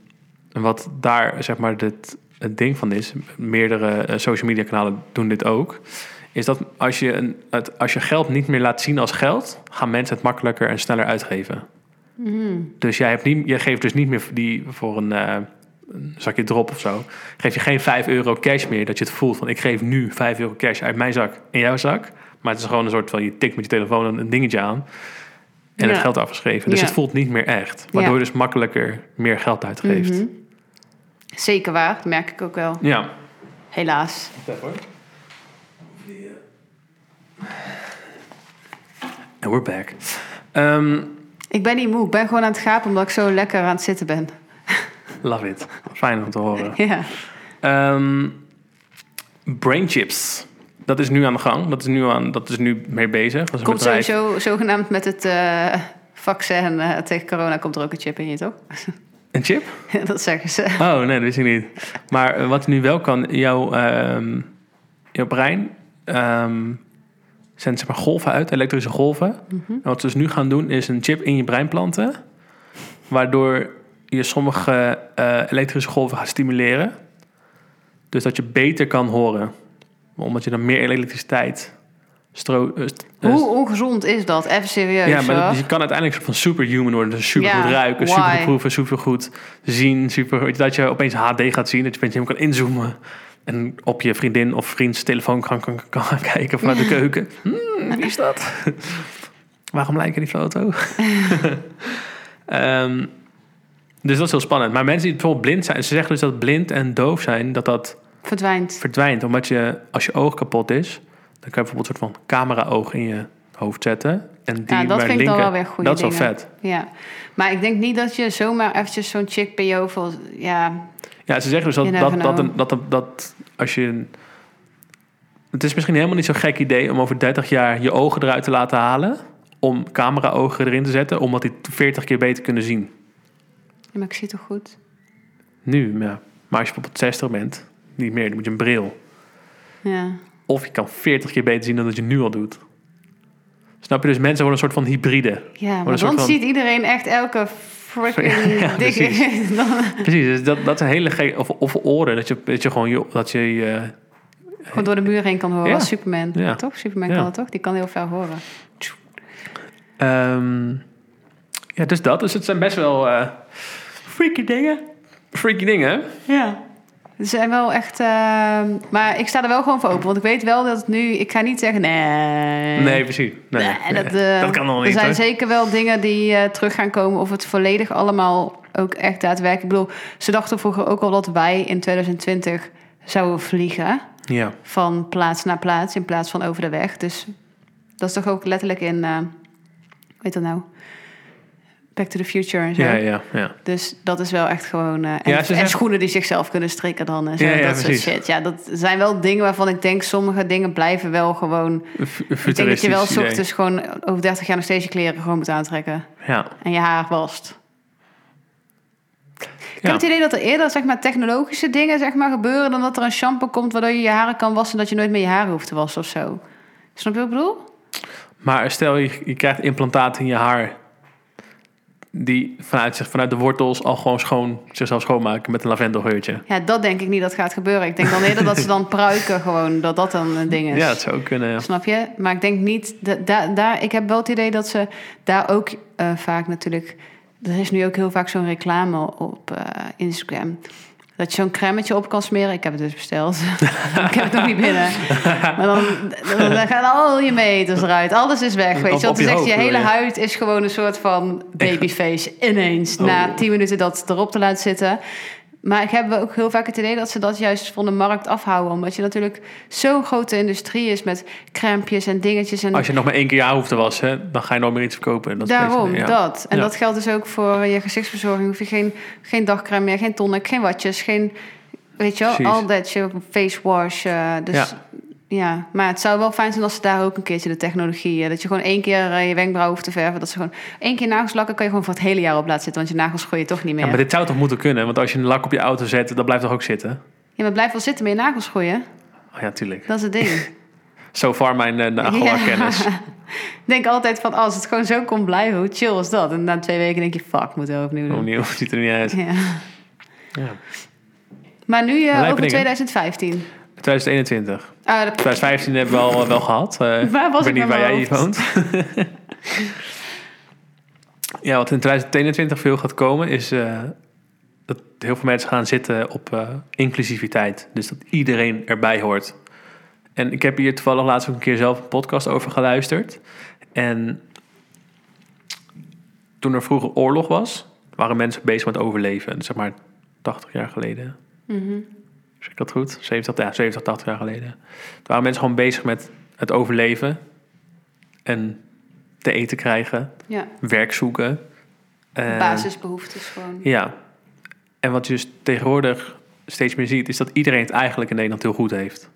[SPEAKER 1] wat daar zeg maar dit, het ding van is, meerdere eh, social media kanalen doen dit ook, is dat als je, een, het, als je geld niet meer laat zien als geld, gaan mensen het makkelijker en sneller uitgeven.
[SPEAKER 2] Hm.
[SPEAKER 1] Dus jij hebt niet, je geeft dus niet meer die voor een, eh, een zakje drop of zo. Geef je geen 5 euro cash meer dat je het voelt van ik geef nu 5 euro cash uit mijn zak in jouw zak. Maar het is gewoon een soort van je tikt met je telefoon een, een dingetje aan en het
[SPEAKER 2] Ja.
[SPEAKER 1] geld afgeschreven. Dus
[SPEAKER 2] Ja.
[SPEAKER 1] het voelt niet meer echt. Waardoor
[SPEAKER 2] Ja.
[SPEAKER 1] je dus makkelijker meer geld uitgeeft.
[SPEAKER 2] Mhm. Zeker waar, dat merk ik ook wel.
[SPEAKER 1] Ja.
[SPEAKER 2] Helaas.
[SPEAKER 1] En we're back. Ehm,
[SPEAKER 2] Ik ben niet moe, ik ben gewoon aan het gapen omdat ik zo lekker aan het zitten ben.
[SPEAKER 1] love it. Fijn om te horen.
[SPEAKER 2] Ja.
[SPEAKER 1] Ehm brain chips. Dat is nu aan de gang. Dat is nu, aan, dat is nu mee bezig. Dat is een
[SPEAKER 2] Komt
[SPEAKER 1] bedrijf.
[SPEAKER 2] sowieso zogenaamd met het eh, vaccin eh, tegen corona komt er ook een chip in je, toch?
[SPEAKER 1] Een chip?
[SPEAKER 2] dat zeggen ze.
[SPEAKER 1] Oh, nee, dat wist ik niet. Maar eh, wat nu wel kan, jouw, ehm, jouw brein ehm zendt zeg maar golven uit, elektrische golven. En wat ze dus nu gaan doen, is een chip in je brein planten. Waardoor je sommige eh, elektrische golven gaat stimuleren. Dus dat je beter kan horen. Omdat je dan meer elektriciteit... Stro- eh, st- eh,
[SPEAKER 2] Hoe ongezond is dat? Even serieus
[SPEAKER 1] ja, maar dat-
[SPEAKER 2] hoor.
[SPEAKER 1] je kan uiteindelijk soort van superhuman worden. Dus super goed
[SPEAKER 2] Ja,
[SPEAKER 1] ruiken,
[SPEAKER 2] why?
[SPEAKER 1] super goed proeven, super goed zien. Super, weet je, dat je opeens HD gaat zien, dat je opeens helemaal kan inzoomen. En op je vriendin of vriends telefoon kan, kan, kan gaan kijken vanuit de keuken. Hmm, wie is dat? Waarom lijken die foto? Ehm, dus dat is heel spannend. Maar mensen die bijvoorbeeld blind zijn, ze zeggen dus dat blind en doof zijn, dat dat
[SPEAKER 2] Verdwijnt.
[SPEAKER 1] verdwijnt. Omdat je, als je oog kapot is, dan kan je bijvoorbeeld een soort van camera-oog in je hoofd zetten. En die
[SPEAKER 2] Ja, dat
[SPEAKER 1] maar
[SPEAKER 2] vind ik dan
[SPEAKER 1] linken.
[SPEAKER 2] wel weer goede
[SPEAKER 1] Dat is wel
[SPEAKER 2] dingen.
[SPEAKER 1] vet.
[SPEAKER 2] Ja. Maar ik denk niet dat je zomaar eventjes zo'n chick bij jou voor... Ja,
[SPEAKER 1] Ja, ze zeggen dus dat,
[SPEAKER 2] You
[SPEAKER 1] dat,
[SPEAKER 2] never
[SPEAKER 1] dat,
[SPEAKER 2] know.
[SPEAKER 1] een- dat, een- dat als je... een- Het is misschien helemaal niet zo'n gek idee om over 30 jaar je ogen eruit te laten halen. Om camera-ogen erin te zetten, omdat die 40 keer beter kunnen zien.
[SPEAKER 2] maar ik zie toch goed?
[SPEAKER 1] Nu, ja. Maar als je bijvoorbeeld 60 bent, niet meer, dan moet je een bril.
[SPEAKER 2] Ja.
[SPEAKER 1] Of je kan 40 keer beter zien dan dat je nu al doet. Snap je? Dus mensen worden een soort van hybride.
[SPEAKER 2] Ja,
[SPEAKER 1] een
[SPEAKER 2] maar
[SPEAKER 1] soort
[SPEAKER 2] dan
[SPEAKER 1] van-
[SPEAKER 2] ziet iedereen echt elke
[SPEAKER 1] Ja,
[SPEAKER 2] freaking
[SPEAKER 1] ja, precies.
[SPEAKER 2] ding. Dan-
[SPEAKER 1] Precies, dus dat, dat is een hele gek. Of, of oren, dat je, dat je gewoon je. Dat je, je-
[SPEAKER 2] Gewoon door de muur heen kan horen.
[SPEAKER 1] Ja.
[SPEAKER 2] Als Superman.
[SPEAKER 1] Ja.
[SPEAKER 2] Toch? Superman
[SPEAKER 1] Ja.
[SPEAKER 2] kan dat toch? Die kan heel ver horen.
[SPEAKER 1] ehm, ja, dus dat. Dus het zijn best wel. eh, freaky dingen. Freaky dingen.
[SPEAKER 2] Ja. Ze zijn wel echt... ehm, maar ik sta er wel gewoon voor open. Want ik weet wel dat het nu... Ik ga niet zeggen nee.
[SPEAKER 1] Nee, precies. Nee,
[SPEAKER 2] Nee, dat,
[SPEAKER 1] nee.
[SPEAKER 2] eh,
[SPEAKER 1] dat kan nog
[SPEAKER 2] Er
[SPEAKER 1] niet.
[SPEAKER 2] zijn
[SPEAKER 1] hoor.
[SPEAKER 2] zeker wel dingen die eh, terug gaan komen. Of het volledig allemaal ook echt daadwerkelijk... Ik bedoel, ze dachten vroeger ook al dat wij in 2020 zouden vliegen.
[SPEAKER 1] Ja.
[SPEAKER 2] Van plaats naar plaats in plaats van over de weg. Dus dat is toch ook letterlijk in... eh, hoe weet dat nou? Back to the Future en zo.
[SPEAKER 1] Ja, ja, ja.
[SPEAKER 2] Dus dat is wel echt gewoon... eh, en,
[SPEAKER 1] Ja, ze
[SPEAKER 2] en
[SPEAKER 1] zeggen-
[SPEAKER 2] schoenen die zichzelf kunnen strikken dan. En zo,
[SPEAKER 1] Ja, ja,
[SPEAKER 2] dat soort
[SPEAKER 1] precies.
[SPEAKER 2] shit. Ja, dat zijn wel dingen waarvan ik denk... sommige dingen blijven wel gewoon...
[SPEAKER 1] Een fu- een
[SPEAKER 2] Ik denk dat je wel dus-
[SPEAKER 1] futuristisch idee.
[SPEAKER 2] ochtends gewoon over 30 jaar nog steeds je kleren gewoon moet aantrekken.
[SPEAKER 1] Ja.
[SPEAKER 2] En je haar wast. Ik
[SPEAKER 1] Ja.
[SPEAKER 2] heb het idee dat er eerder zeg maar, technologische dingen zeg maar, gebeuren... dan dat er een shampoo komt waardoor je je haren kan wassen... en dat je nooit meer je haren hoeft te wassen of zo. Snap je wat ik bedoel?
[SPEAKER 1] Maar stel je, je krijgt implantaten in je haar. Die vanuit, zich, vanuit de wortels al gewoon schoon, zichzelf schoonmaken met een lavendelgeurtje.
[SPEAKER 2] Ja, dat denk ik niet dat gaat gebeuren. Ik denk dan eerder dat ze dan pruiken gewoon... dat dat dan een ding is.
[SPEAKER 1] Ja, dat zou ook kunnen. ja.
[SPEAKER 2] Snap je? Maar ik denk niet. da- da- daar, ik heb wel het idee dat ze daar ook eh, vaak natuurlijk. Er is nu ook heel vaak zo'n reclame op eh, Instagram. Dat je zo'n crèmeetje op kan smeren. Ik heb het dus besteld. ik heb het nog niet binnen. Maar dan, dan, dan gaan al je meters eruit. Alles is weg. Weet
[SPEAKER 1] Op-
[SPEAKER 2] je?
[SPEAKER 1] op
[SPEAKER 2] Want
[SPEAKER 1] je
[SPEAKER 2] dan zegt je
[SPEAKER 1] hoofd,
[SPEAKER 2] hele
[SPEAKER 1] bedoel je?
[SPEAKER 2] huid is gewoon een soort van babyface. Ineens.
[SPEAKER 1] Oh.
[SPEAKER 2] Na tien minuten dat erop te laten zitten. Maar ik heb ook heel vaak het idee dat ze dat juist van de markt afhouden. Omdat je natuurlijk zo'n grote industrie is met crampjes en dingetjes. En
[SPEAKER 1] Als je nog maar één keer je haar hoeft te wassen, dan ga je nooit meer iets verkopen. Dat is een
[SPEAKER 2] daarom,
[SPEAKER 1] beetje- ja.
[SPEAKER 2] dat. En
[SPEAKER 1] Ja.
[SPEAKER 2] dat geldt dus ook voor je gezichtsverzorging. Hoef je geen, geen dagcrème meer, geen tonic, geen watjes, geen... Weet je wel,
[SPEAKER 1] Precies.
[SPEAKER 2] al dat je face wash. eh, dus
[SPEAKER 1] Ja.
[SPEAKER 2] ja. maar het zou wel fijn zijn als ze daar ook een keertje de technologie... eh, dat je gewoon één keer eh, je wenkbrauw hoeft te verven. Dat ze gewoon één keer nagels lakken kan je gewoon voor het hele jaar op laten zitten. Want je nagels groeien toch niet meer.
[SPEAKER 1] Ja, maar dit zou toch moeten kunnen? Want als je een lak op je auto zet, dat blijft toch ook zitten?
[SPEAKER 2] blijf wel zitten met je nagels groeien.
[SPEAKER 1] Oh ja, tuurlijk.
[SPEAKER 2] Dat is het ding.
[SPEAKER 1] Zo far mijn uh, Nagella-kennis.
[SPEAKER 2] Ik denk altijd van, als het gewoon zo kon blijven, hoe chill is dat? En na twee weken denk je, fuck, moeten we opnieuw doen.
[SPEAKER 1] Opnieuw, ziet er Oh, niet uit.
[SPEAKER 2] Ja.
[SPEAKER 1] Ja.
[SPEAKER 2] Maar nu eh,
[SPEAKER 1] Lijpe
[SPEAKER 2] over
[SPEAKER 1] dingen.
[SPEAKER 2] 2015.
[SPEAKER 1] 2021.
[SPEAKER 2] Ah, dat-
[SPEAKER 1] 2015 hebben we al eh, wel gehad. Eh,
[SPEAKER 2] Waar was
[SPEAKER 1] ik weet
[SPEAKER 2] ik
[SPEAKER 1] niet waar
[SPEAKER 2] nou met
[SPEAKER 1] jij
[SPEAKER 2] mijn
[SPEAKER 1] hier woont. ja, wat in 2021 veel gaat komen is eh, dat heel veel mensen gaan zitten op eh, inclusiviteit. Dus dat iedereen erbij hoort. En ik heb hier toevallig laatst ook een keer zelf een podcast over geluisterd. En toen er vroeger oorlog was, waren mensen bezig met overleven. Zeg maar 80 jaar geleden.
[SPEAKER 2] Mhm.
[SPEAKER 1] Zeg ik dat goed? 70, ja, 70, 80 jaar geleden. Toen waren mensen gewoon bezig met het overleven. En te eten krijgen,
[SPEAKER 2] Ja,
[SPEAKER 1] werk zoeken. Eh,
[SPEAKER 2] basisbehoeftes gewoon.
[SPEAKER 1] Ja. En wat je dus tegenwoordig steeds meer ziet, is dat iedereen het eigenlijk in Nederland heel goed heeft.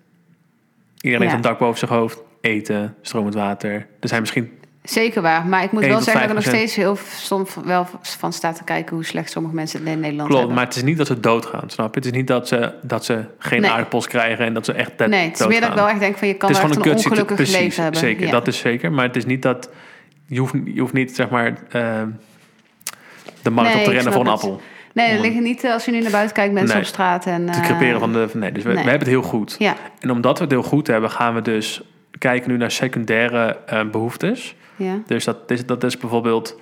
[SPEAKER 1] Iedereen
[SPEAKER 2] Ja.
[SPEAKER 1] heeft een dak boven zijn hoofd, eten, stromend water. Er zijn misschien.
[SPEAKER 2] Zeker waar, maar ik moet
[SPEAKER 1] Eén
[SPEAKER 2] wel
[SPEAKER 1] tot
[SPEAKER 2] zeggen dat ik nog
[SPEAKER 1] 5%.
[SPEAKER 2] steeds heel soms wel van sta te kijken hoe slecht sommige mensen het in Nederland
[SPEAKER 1] Klopt,
[SPEAKER 2] hebben.
[SPEAKER 1] maar het is niet dat ze doodgaan, snap je? Het is niet dat ze, dat ze geen
[SPEAKER 2] Nee.
[SPEAKER 1] aardappels krijgen en dat ze echt doodgaan.
[SPEAKER 2] nee, het is meer dat ik wel echt denk van je kan
[SPEAKER 1] het
[SPEAKER 2] wel
[SPEAKER 1] is
[SPEAKER 2] echt
[SPEAKER 1] gewoon
[SPEAKER 2] een
[SPEAKER 1] een kut
[SPEAKER 2] ongelukkig leven hebben.
[SPEAKER 1] Zeker,
[SPEAKER 2] Ja.
[SPEAKER 1] dat is zeker. Maar het is niet dat... Je hoeft, je hoeft niet, zeg maar, ehm, de markt
[SPEAKER 2] Nee,
[SPEAKER 1] op te
[SPEAKER 2] ik
[SPEAKER 1] rennen voor
[SPEAKER 2] snap
[SPEAKER 1] een
[SPEAKER 2] het.
[SPEAKER 1] appel.
[SPEAKER 2] Nee, er
[SPEAKER 1] om-
[SPEAKER 2] liggen niet eh, als je nu naar buiten kijkt mensen
[SPEAKER 1] Nee.
[SPEAKER 2] op straat en
[SPEAKER 1] Te
[SPEAKER 2] eh,
[SPEAKER 1] creperen van de... van- Nee, dus we,
[SPEAKER 2] nee.
[SPEAKER 1] we hebben het heel goed.
[SPEAKER 2] Ja,
[SPEAKER 1] En omdat we het heel goed hebben, gaan we dus kijken nu naar secundaire eh, behoeftes.
[SPEAKER 2] ja,
[SPEAKER 1] Dus dat is, dat is bijvoorbeeld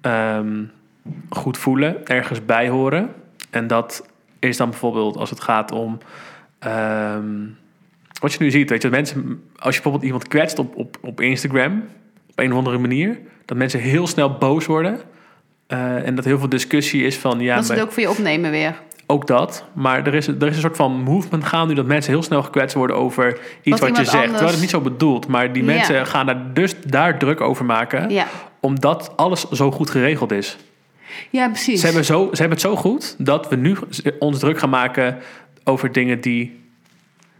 [SPEAKER 1] ehm, goed voelen, ergens bij horen. En dat is dan bijvoorbeeld als het gaat om. ehm, wat je nu ziet, weet je, dat mensen, als je bijvoorbeeld iemand kwetst op, op, op Instagram, op een of andere manier, dat mensen heel snel boos worden. eh, en dat heel veel discussie is van ja,
[SPEAKER 2] dat is het
[SPEAKER 1] maar-
[SPEAKER 2] ook voor je opnemen weer.
[SPEAKER 1] ook dat. Maar er is, er is een soort van movement gaan nu dat mensen heel snel gekwetst worden over iets wat,
[SPEAKER 2] iemand
[SPEAKER 1] je zegt. Terwijl het
[SPEAKER 2] anders-
[SPEAKER 1] niet zo bedoeld. Maar die
[SPEAKER 2] Ja.
[SPEAKER 1] mensen gaan daar dus daar druk over maken.
[SPEAKER 2] Ja,
[SPEAKER 1] Omdat alles zo goed geregeld is.
[SPEAKER 2] ja precies.
[SPEAKER 1] Ze hebben, zo, ze hebben het zo goed dat we nu ons druk gaan maken over dingen die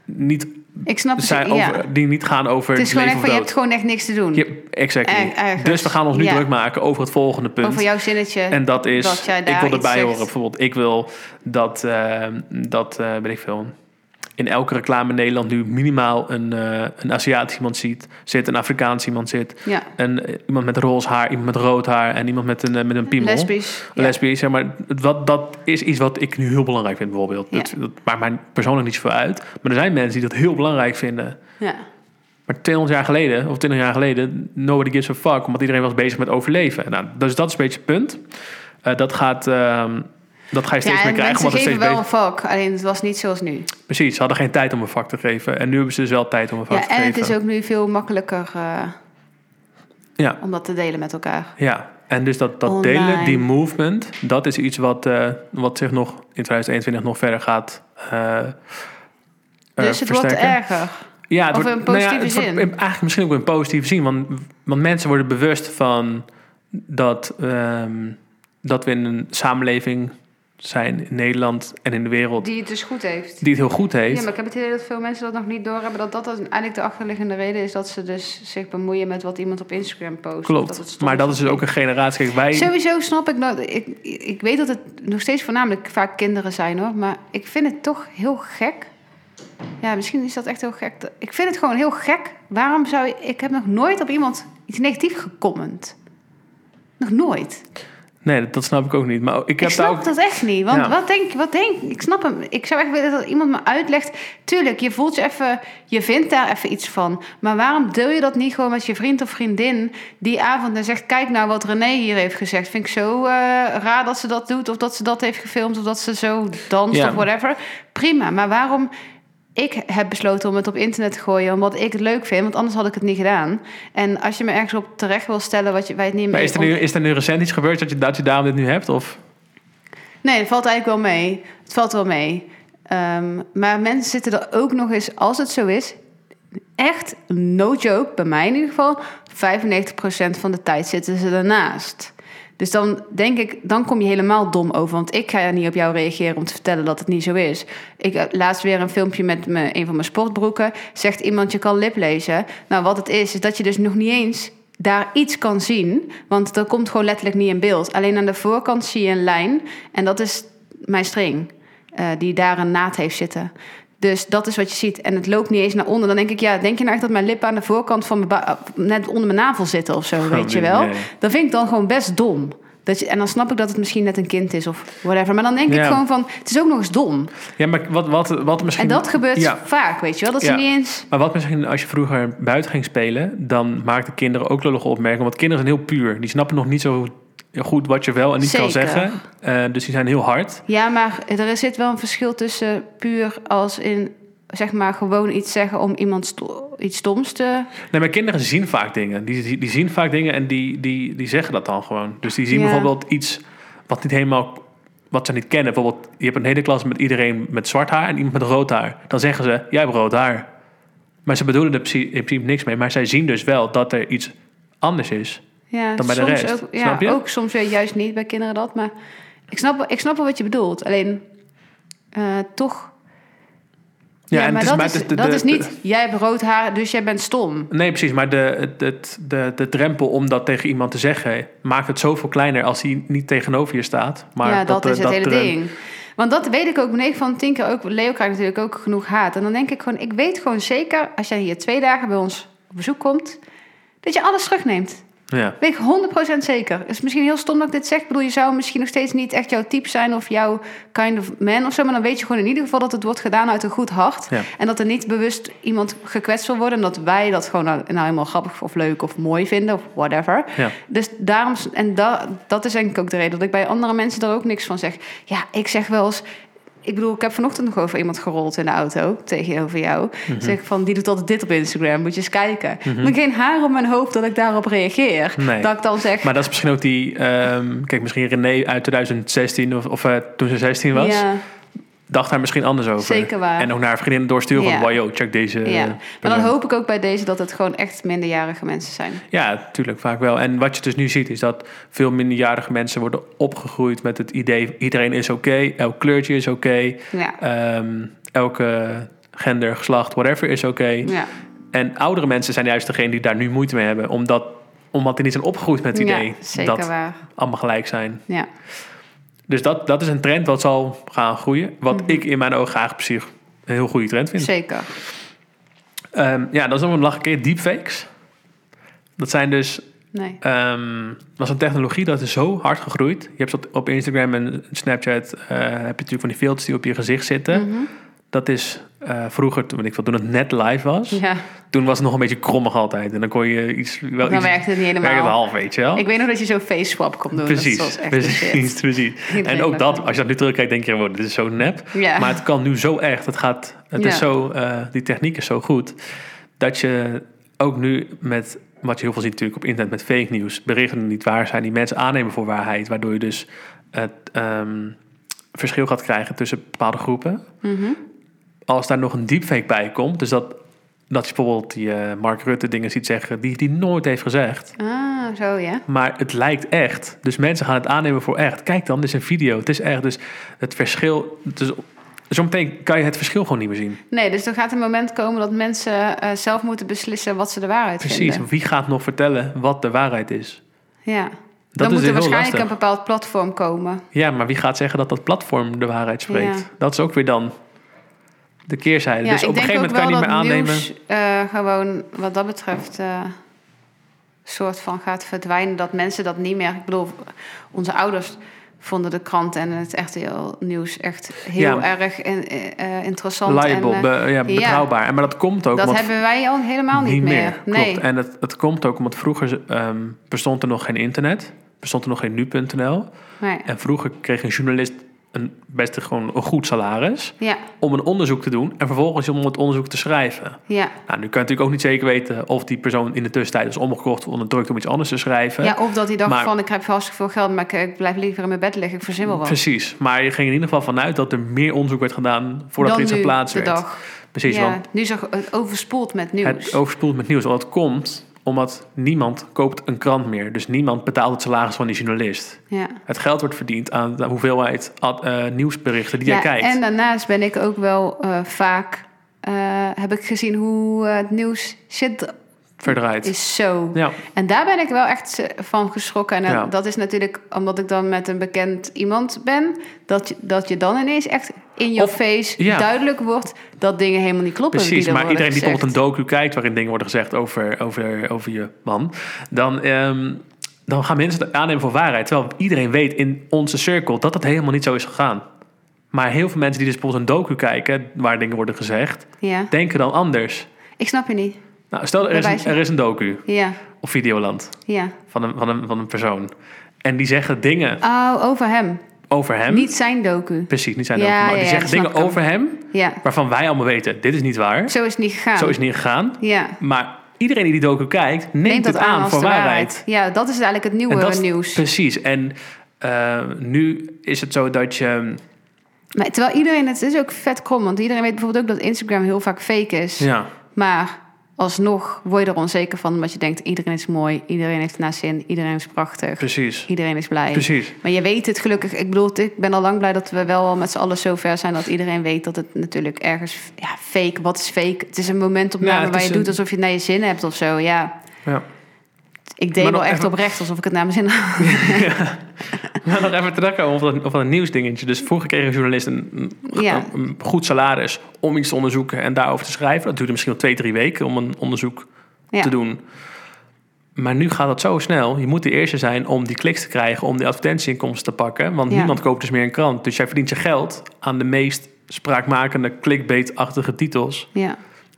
[SPEAKER 1] niet,
[SPEAKER 2] ik snap het.
[SPEAKER 1] zijn
[SPEAKER 2] ja.
[SPEAKER 1] over, die niet gaan over
[SPEAKER 2] het
[SPEAKER 1] het
[SPEAKER 2] is gewoon
[SPEAKER 1] leven
[SPEAKER 2] echt
[SPEAKER 1] of
[SPEAKER 2] van je hebt
[SPEAKER 1] dood.
[SPEAKER 2] gewoon echt niks te doen.
[SPEAKER 1] Je- exactly.
[SPEAKER 2] Er- ergens.
[SPEAKER 1] dus we gaan ons nu
[SPEAKER 2] Ja.
[SPEAKER 1] druk maken over het volgende punt.
[SPEAKER 2] Over jouw zinnetje.
[SPEAKER 1] En dat is,
[SPEAKER 2] Dat jij
[SPEAKER 1] ik
[SPEAKER 2] daar
[SPEAKER 1] wil
[SPEAKER 2] iets
[SPEAKER 1] erbij
[SPEAKER 2] zegt.
[SPEAKER 1] horen. Bijvoorbeeld, ik wil dat, eh, dat eh weet ik veel, in elke reclame in Nederland nu minimaal een, eh, een Aziatisch iemand ziet, zit, een Afrikaans iemand zit,
[SPEAKER 2] ja,
[SPEAKER 1] een, eh, iemand met roze haar, iemand met rood haar en iemand met een, eh, met een piemel.
[SPEAKER 2] lesbisch. Ja.
[SPEAKER 1] Lesbisch, zeg maar dat, dat is iets wat ik nu heel belangrijk vind bijvoorbeeld.
[SPEAKER 2] Ja.
[SPEAKER 1] Dat, dat maakt mij persoonlijk niet zoveel uit. Maar er zijn mensen die dat heel belangrijk vinden.
[SPEAKER 2] Ja.
[SPEAKER 1] Maar 200 jaar geleden, of 20 jaar geleden, nobody gives a fuck, omdat iedereen was bezig met overleven. Nou, dus dat is een beetje het punt. Eh, dat, gaat, ehm, dat ga je steeds
[SPEAKER 2] Ja,
[SPEAKER 1] meer
[SPEAKER 2] en
[SPEAKER 1] krijgen.
[SPEAKER 2] mensen
[SPEAKER 1] Omdat het steeds
[SPEAKER 2] geven wel
[SPEAKER 1] beter-
[SPEAKER 2] een vak, alleen het was niet zoals nu.
[SPEAKER 1] Precies, ze hadden geen tijd om een vak te geven. En nu hebben ze dus wel tijd om een vak
[SPEAKER 2] Ja,
[SPEAKER 1] te
[SPEAKER 2] en
[SPEAKER 1] geven.
[SPEAKER 2] het is ook nu veel makkelijker eh,
[SPEAKER 1] Ja.
[SPEAKER 2] om dat te delen met elkaar.
[SPEAKER 1] Ja, en dus dat, dat
[SPEAKER 2] Online.
[SPEAKER 1] delen, die movement, dat is iets wat, eh, wat zich nog in 2021 nog verder gaat eh, eh,
[SPEAKER 2] Dus het wordt
[SPEAKER 1] versterken.
[SPEAKER 2] erger.
[SPEAKER 1] Ja, het
[SPEAKER 2] Of
[SPEAKER 1] wordt-
[SPEAKER 2] in
[SPEAKER 1] nou ja,
[SPEAKER 2] positieve
[SPEAKER 1] het wordt
[SPEAKER 2] zin.
[SPEAKER 1] in- eigenlijk misschien ook in positieve zin. Want, want mensen worden bewust van dat, ehm, dat we in een samenleving zijn in Nederland en in de wereld
[SPEAKER 2] Die het dus goed heeft.
[SPEAKER 1] die het heel goed
[SPEAKER 2] Ja,
[SPEAKER 1] heeft.
[SPEAKER 2] maar ik heb het idee dat veel mensen dat nog niet doorhebben. Dat dat eigenlijk de achterliggende reden is dat ze dus zich bemoeien met wat iemand op Instagram post. of
[SPEAKER 1] Klopt.
[SPEAKER 2] Dat het stom
[SPEAKER 1] maar dat is dus
[SPEAKER 2] of
[SPEAKER 1] ook een generatie. Kijk, wij,
[SPEAKER 2] Sowieso snap ik dat. Ik, ik weet dat het nog steeds voornamelijk vaak kinderen zijn hoor. Maar ik vind het toch heel gek. Ja, misschien is dat echt heel gek. Ik vind het gewoon heel gek. Waarom zou je. Ik heb nog nooit op iemand iets negatiefs gecomment. Nog nooit.
[SPEAKER 1] nee, dat, dat snap ik ook niet. Maar ik heb
[SPEAKER 2] Ik,
[SPEAKER 1] daar
[SPEAKER 2] snap
[SPEAKER 1] ook.
[SPEAKER 2] dat echt niet. Want
[SPEAKER 1] Ja.
[SPEAKER 2] wat denk wat denk ik? snap hem. Ik zou echt willen dat iemand me uitlegt. Tuurlijk, je voelt je even. Je vindt daar even iets van. Maar waarom deel je dat niet gewoon met je vriend of vriendin die avond en zegt: Kijk nou wat René hier heeft gezegd. Vind ik zo eh, raar dat ze dat doet. Of dat ze dat heeft gefilmd. Of dat ze zo danst
[SPEAKER 1] Ja.
[SPEAKER 2] of whatever. Prima. Maar waarom. Ik heb besloten om het op internet te gooien omdat ik het leuk vind, want anders had ik het niet gedaan. En als je me ergens op terecht wil stellen wat je, waar je het niet mee
[SPEAKER 1] Maar is er,
[SPEAKER 2] om-
[SPEAKER 1] nu, is er nu recent iets gebeurd dat je, dat je daarom dit nu hebt? Of?
[SPEAKER 2] Nee, het valt eigenlijk wel mee. Het valt wel mee. Ehm, maar mensen zitten er ook nog eens, als het zo is, echt, no joke, bij mij in ieder geval, 95% van de tijd zitten ze ernaast. Dus dan denk ik, dan kom je helemaal dom over. Want ik ga er niet op jou reageren om te vertellen dat het niet zo is. Ik eh, laatst weer een filmpje met me, een van mijn sportbroeken. Zegt iemand, je kan liplezen. Nou, wat het is, is dat je dus nog niet eens daar iets kan zien. Want dat komt gewoon letterlijk niet in beeld. Alleen aan de voorkant zie je een lijn. En dat is mijn string, eh, die daar een naad heeft zitten. Dus dat is wat je ziet. En het loopt niet eens naar onder. Dan denk ik, ja, denk je nou echt dat mijn lippen aan de voorkant van mijn ba- eh, net onder mijn navel zitten of zo, weet je
[SPEAKER 1] nee,
[SPEAKER 2] wel?
[SPEAKER 1] nee.
[SPEAKER 2] Dat vind ik dan gewoon best dom. Dat je, en dan snap ik dat het misschien net een kind is of whatever. Maar dan denk
[SPEAKER 1] Ja.
[SPEAKER 2] ik gewoon van, het is ook nog eens dom.
[SPEAKER 1] Ja, maar wat, wat, wat misschien...
[SPEAKER 2] En dat gebeurt
[SPEAKER 1] Ja.
[SPEAKER 2] vaak, weet je wel. Dat
[SPEAKER 1] Ja.
[SPEAKER 2] ze niet eens...
[SPEAKER 1] Maar wat misschien als je vroeger buiten ging spelen, dan maakten kinderen ook lullige opmerkingen. Want kinderen zijn heel puur. Die snappen nog niet zo goed wat je wel en niet kan
[SPEAKER 2] Zeker.
[SPEAKER 1] zeggen. Eh, dus die zijn heel hard.
[SPEAKER 2] Ja, maar er zit wel een verschil tussen puur als in... zeg maar gewoon iets zeggen om iemand sto- iets stoms te...
[SPEAKER 1] Nee, maar kinderen zien vaak dingen. Die, die, die zien vaak dingen en die, die, die zeggen dat dan gewoon. Dus die zien
[SPEAKER 2] Ja.
[SPEAKER 1] bijvoorbeeld iets wat niet helemaal wat ze niet kennen. Bijvoorbeeld, je hebt een hele klas met iedereen met zwart haar en iemand met rood haar. Dan zeggen ze, jij hebt rood haar. Maar ze bedoelen er precies- in principe niks mee. Maar zij zien dus wel dat er iets anders is.
[SPEAKER 2] Ja,
[SPEAKER 1] Dan bij de
[SPEAKER 2] soms
[SPEAKER 1] rest,
[SPEAKER 2] Ook, ja,
[SPEAKER 1] snap je?
[SPEAKER 2] ook soms weet juist niet bij kinderen dat. Maar ik snap, wel- ik snap wel wat je bedoelt. Alleen eh, toch... Ja,
[SPEAKER 1] en
[SPEAKER 2] maar
[SPEAKER 1] het
[SPEAKER 2] dat,
[SPEAKER 1] maar
[SPEAKER 2] is,
[SPEAKER 1] het de-
[SPEAKER 2] dat
[SPEAKER 1] de-
[SPEAKER 2] is niet... jij hebt rood haar, dus jij bent stom.
[SPEAKER 1] Nee, precies. Maar de, de, de, de drempel om dat tegen iemand te zeggen... maakt het zoveel kleiner als hij niet tegenover je staat. Maar
[SPEAKER 2] ja, dat,
[SPEAKER 1] eh,
[SPEAKER 2] is het hele
[SPEAKER 1] er een-
[SPEAKER 2] ding. Want dat weet ik ook. 9 van 10 keer ook. Leo krijgt natuurlijk ook genoeg haat. En dan denk ik gewoon, ik weet gewoon zeker... als jij hier twee dagen bij ons op bezoek komt... dat je alles terugneemt.
[SPEAKER 1] Ja.
[SPEAKER 2] Weet ik 100% zeker. Het is misschien heel stom dat ik dit zeg. Ik bedoel, je zou misschien nog steeds niet echt jouw type zijn... of jouw kind of man of zo. Maar dan weet je gewoon in ieder geval dat het wordt gedaan uit een goed hart.
[SPEAKER 1] Ja.
[SPEAKER 2] En dat er niet bewust iemand gekwetst wil worden. En dat wij dat gewoon nou, nou helemaal grappig of leuk of mooi vinden of whatever.
[SPEAKER 1] Ja.
[SPEAKER 2] Dus daarom, en da, dat is denk ik ook de reden dat ik bij andere mensen daar ook niks van zeg. Ja, ik zeg wel eens. Ik bedoel, ik heb vanochtend nog over iemand gerold in de auto tegenover jou.
[SPEAKER 1] Mhm.
[SPEAKER 2] Zeg ik van, die doet altijd dit op Instagram, moet je eens kijken. Maar ik geen haar op mijn hoofd dat ik daarop reageer.
[SPEAKER 1] Nee.
[SPEAKER 2] Dat ik dan zeg,
[SPEAKER 1] Maar dat is misschien ook die... ehm, kijk, misschien René uit 2016 of, of eh, toen ze 16 was...
[SPEAKER 2] ja,
[SPEAKER 1] dacht daar misschien anders over.
[SPEAKER 2] Zeker waar.
[SPEAKER 1] En ook naar haar vriendinnen doorsturen
[SPEAKER 2] Ja.
[SPEAKER 1] van... wow, yo, check deze... eh,
[SPEAKER 2] ja. Maar dan
[SPEAKER 1] persoon.
[SPEAKER 2] hoop ik ook bij deze dat het gewoon echt minderjarige mensen zijn.
[SPEAKER 1] Ja, tuurlijk, vaak wel. En wat je dus nu ziet is dat veel minderjarige mensen worden opgegroeid met het idee... iedereen is oké, elk kleurtje is oké...
[SPEAKER 2] Ja,
[SPEAKER 1] Ehm, elke gender, geslacht, whatever is oké.
[SPEAKER 2] ja.
[SPEAKER 1] En oudere mensen zijn juist degene die daar nu moeite mee hebben. Omdat, omdat die niet zijn opgegroeid met het idee
[SPEAKER 2] ja zeker
[SPEAKER 1] dat
[SPEAKER 2] waar.
[SPEAKER 1] allemaal gelijk zijn.
[SPEAKER 2] Ja.
[SPEAKER 1] Dus dat, dat is een trend wat zal gaan groeien. Wat ik in mijn ogen graag op zich een heel goede trend vind.
[SPEAKER 2] Mhm. Zeker.
[SPEAKER 1] Ehm, ja, dat is nog een lach een keer. Deepfakes. Dat zijn dus...
[SPEAKER 2] Nee.
[SPEAKER 1] ehm, dat is een technologie dat is zo hard gegroeid. Je hebt dat op Instagram en Snapchat... eh, heb je natuurlijk van die filters die op je gezicht zitten.
[SPEAKER 2] Mhm.
[SPEAKER 1] Dat is eh, vroeger, toen, weet ik veel, toen het net live was...
[SPEAKER 2] Ja,
[SPEAKER 1] Toen was het nog een beetje krommig altijd. En dan kon je iets... Wel
[SPEAKER 2] dan
[SPEAKER 1] iets
[SPEAKER 2] werkt het niet
[SPEAKER 1] werkt het
[SPEAKER 2] helemaal.
[SPEAKER 1] half, weet je wel?
[SPEAKER 2] Ik weet nog dat je zo'n face swap kon doen.
[SPEAKER 1] precies,
[SPEAKER 2] Dat was echt de
[SPEAKER 1] precies,
[SPEAKER 2] shit.
[SPEAKER 1] precies.
[SPEAKER 2] Iedereen
[SPEAKER 1] En ook
[SPEAKER 2] lag
[SPEAKER 1] dat,
[SPEAKER 2] er.
[SPEAKER 1] als je dat nu terugkijkt, denk je, wow, dit is zo nep.
[SPEAKER 2] Ja.
[SPEAKER 1] Maar het kan nu zo echt. Het gaat, het is
[SPEAKER 2] Ja.
[SPEAKER 1] zo, eh, die techniek is zo goed. Dat je ook nu met, wat je heel veel ziet natuurlijk op internet met fake nieuws. Berichten die niet waar zijn, die mensen aannemen voor waarheid. Waardoor je dus het ehm, verschil gaat krijgen tussen bepaalde groepen
[SPEAKER 2] Mhm.
[SPEAKER 1] als daar nog een deepfake bij komt, dus dat, dat je bijvoorbeeld die eh, Mark Rutte dingen ziet zeggen die die nooit heeft gezegd,
[SPEAKER 2] Ah, zo ja.
[SPEAKER 1] maar het lijkt echt. Dus mensen gaan het aannemen voor echt. Kijk dan, dit is een video, het is echt. Dus het verschil, dus zometeen kan je het verschil gewoon niet meer zien.
[SPEAKER 2] Nee, dus er gaat een moment komen dat mensen eh, zelf moeten beslissen wat ze de waarheid
[SPEAKER 1] Precies,
[SPEAKER 2] vinden.
[SPEAKER 1] wie gaat nog vertellen wat de waarheid is?
[SPEAKER 2] Ja.
[SPEAKER 1] Dat
[SPEAKER 2] dan
[SPEAKER 1] is
[SPEAKER 2] moet er
[SPEAKER 1] heel
[SPEAKER 2] waarschijnlijk
[SPEAKER 1] lastig.
[SPEAKER 2] een bepaald platform komen.
[SPEAKER 1] Ja, maar wie gaat zeggen dat dat platform de waarheid spreekt?
[SPEAKER 2] Ja.
[SPEAKER 1] Dat is ook weer dan de keerzijde. dus
[SPEAKER 2] ja,
[SPEAKER 1] op een gegeven moment kan je niet meer aannemen.
[SPEAKER 2] nieuws eh, gewoon wat dat betreft eh soort van gaat verdwijnen. Dat mensen dat niet meer... Ik bedoel, onze ouders vonden de krant en het RTL nieuws echt heel erg in- eh, eh, interessant.
[SPEAKER 1] Liable,
[SPEAKER 2] en, eh,
[SPEAKER 1] be- ja, betrouwbaar. En Maar dat komt ook
[SPEAKER 2] dat
[SPEAKER 1] omdat
[SPEAKER 2] hebben wij al helemaal niet, meer. Nee.
[SPEAKER 1] Klopt. En het, het komt ook omdat vroeger ehm, bestond er nog geen internet. Bestond er nog geen nu.nl.
[SPEAKER 2] nee.
[SPEAKER 1] En vroeger kreeg een journalist een, best gewoon een goed salaris
[SPEAKER 2] Ja,
[SPEAKER 1] om een onderzoek te doen en vervolgens om het onderzoek te schrijven.
[SPEAKER 2] ja.
[SPEAKER 1] Nou, nu kan je natuurlijk ook niet zeker weten of die persoon in de tussentijd is omgekocht of onderdrukt om iets anders te schrijven.
[SPEAKER 2] Ja, of dat hij dacht
[SPEAKER 1] Maar-
[SPEAKER 2] van, ik heb vast veel geld, maar ik, ik blijf liever in mijn bed liggen. Ik verzin wel wat.
[SPEAKER 1] Precies, maar je ging er in ieder geval vanuit dat er meer onderzoek werd gedaan voordat
[SPEAKER 2] Dan
[SPEAKER 1] er iets
[SPEAKER 2] nu,
[SPEAKER 1] geplaatst
[SPEAKER 2] de
[SPEAKER 1] werd.
[SPEAKER 2] dag.
[SPEAKER 1] Precies,
[SPEAKER 2] ja,
[SPEAKER 1] want
[SPEAKER 2] nu is er- het overspoeld met nieuws.
[SPEAKER 1] Het overspoelt met nieuws. Want dat komt omdat niemand koopt een krant meer. Dus niemand betaalt het salaris van die journalist.
[SPEAKER 2] ja.
[SPEAKER 1] Het geld wordt verdiend aan de hoeveelheid ad- eh, nieuwsberichten die
[SPEAKER 2] ja,
[SPEAKER 1] jij kijkt.
[SPEAKER 2] En daarnaast ben ik ook wel eh, vaak... eh, heb ik gezien hoe eh, het nieuws shit
[SPEAKER 1] verdraaid.
[SPEAKER 2] is zo.
[SPEAKER 1] Ja,
[SPEAKER 2] En daar ben ik wel echt eh, van geschrokken. En eh,
[SPEAKER 1] Ja.
[SPEAKER 2] dat is natuurlijk omdat ik dan met een bekend iemand ben. Dat je, dat je dan ineens echt in je
[SPEAKER 1] Of-
[SPEAKER 2] face
[SPEAKER 1] ja.
[SPEAKER 2] duidelijk wordt dat dingen helemaal niet kloppen.
[SPEAKER 1] precies.
[SPEAKER 2] die er
[SPEAKER 1] Maar
[SPEAKER 2] worden
[SPEAKER 1] iedereen die
[SPEAKER 2] gezegd.
[SPEAKER 1] bijvoorbeeld een docu kijkt waarin dingen worden gezegd over, over, over je man, dan, ehm, dan gaan mensen het aannemen voor waarheid. Terwijl iedereen weet in onze cirkel dat dat helemaal niet zo is gegaan. Maar heel veel mensen die dus bijvoorbeeld een docu kijken waar dingen worden gezegd,
[SPEAKER 2] Ja,
[SPEAKER 1] denken dan anders.
[SPEAKER 2] ik snap je niet.
[SPEAKER 1] Nou, stel er is,
[SPEAKER 2] Bij
[SPEAKER 1] een,
[SPEAKER 2] wijze-
[SPEAKER 1] er is een docu
[SPEAKER 2] Ja,
[SPEAKER 1] of Videoland
[SPEAKER 2] ja.
[SPEAKER 1] van een, van, een, van een persoon. En die zeggen dingen
[SPEAKER 2] Oh, over hem.
[SPEAKER 1] over hem.
[SPEAKER 2] Niet zijn docu.
[SPEAKER 1] Precies, niet zijn
[SPEAKER 2] Ja,
[SPEAKER 1] docu. Maar
[SPEAKER 2] ja,
[SPEAKER 1] die
[SPEAKER 2] ja,
[SPEAKER 1] zeggen
[SPEAKER 2] dat snap
[SPEAKER 1] dingen
[SPEAKER 2] ik.
[SPEAKER 1] over hem
[SPEAKER 2] Ja,
[SPEAKER 1] waarvan wij allemaal weten, dit is niet waar.
[SPEAKER 2] zo is het niet gegaan.
[SPEAKER 1] Zo is het niet gegaan.
[SPEAKER 2] Ja.
[SPEAKER 1] Maar iedereen die die docu kijkt, neemt, het aan,
[SPEAKER 2] als
[SPEAKER 1] voor
[SPEAKER 2] de
[SPEAKER 1] waarheid.
[SPEAKER 2] Ja, dat is eigenlijk het nieuwe
[SPEAKER 1] En dat is-
[SPEAKER 2] nieuws.
[SPEAKER 1] Precies. En eh, nu is het zo dat je... mm,
[SPEAKER 2] Maar terwijl iedereen, het is ook vet krom, want iedereen weet bijvoorbeeld ook dat Instagram heel vaak fake is.
[SPEAKER 1] Ja,
[SPEAKER 2] Maar alsnog word je er onzeker van, omdat je denkt: iedereen is mooi, iedereen heeft naar zin, iedereen is prachtig,
[SPEAKER 1] precies.
[SPEAKER 2] iedereen is blij.
[SPEAKER 1] Precies.
[SPEAKER 2] Maar je weet het gelukkig. Ik bedoel, ik ben al lang blij dat we wel al met z'n allen zo ver zijn dat iedereen weet dat het natuurlijk ergens ja, fake. Wat is fake? Het is een momentopname
[SPEAKER 1] Ja, het
[SPEAKER 2] waar
[SPEAKER 1] is
[SPEAKER 2] je
[SPEAKER 1] een-
[SPEAKER 2] doet alsof je het naar je zin hebt of zo. Ja,
[SPEAKER 1] Ja.
[SPEAKER 2] ik deed
[SPEAKER 1] Maar
[SPEAKER 2] wel
[SPEAKER 1] nog
[SPEAKER 2] echt
[SPEAKER 1] even-
[SPEAKER 2] oprecht alsof ik het naar mijn zin had.
[SPEAKER 1] Maar nog even terugkomen over dat, over dat nieuwsdingetje. Dus vroeger kreeg een journalist een, een-
[SPEAKER 2] Ja.
[SPEAKER 1] een goed salaris om iets te onderzoeken en daarover te schrijven. Dat duurde misschien wel twee, drie weken om een onderzoek
[SPEAKER 2] Ja.
[SPEAKER 1] te doen. Maar nu gaat dat zo snel. Je moet de eerste zijn om die kliks te krijgen, om die advertentieinkomsten te pakken. Want
[SPEAKER 2] Ja.
[SPEAKER 1] niemand koopt dus meer een krant. Dus jij verdient je geld aan de meest spraakmakende, clickbait-achtige titels.
[SPEAKER 2] Ja,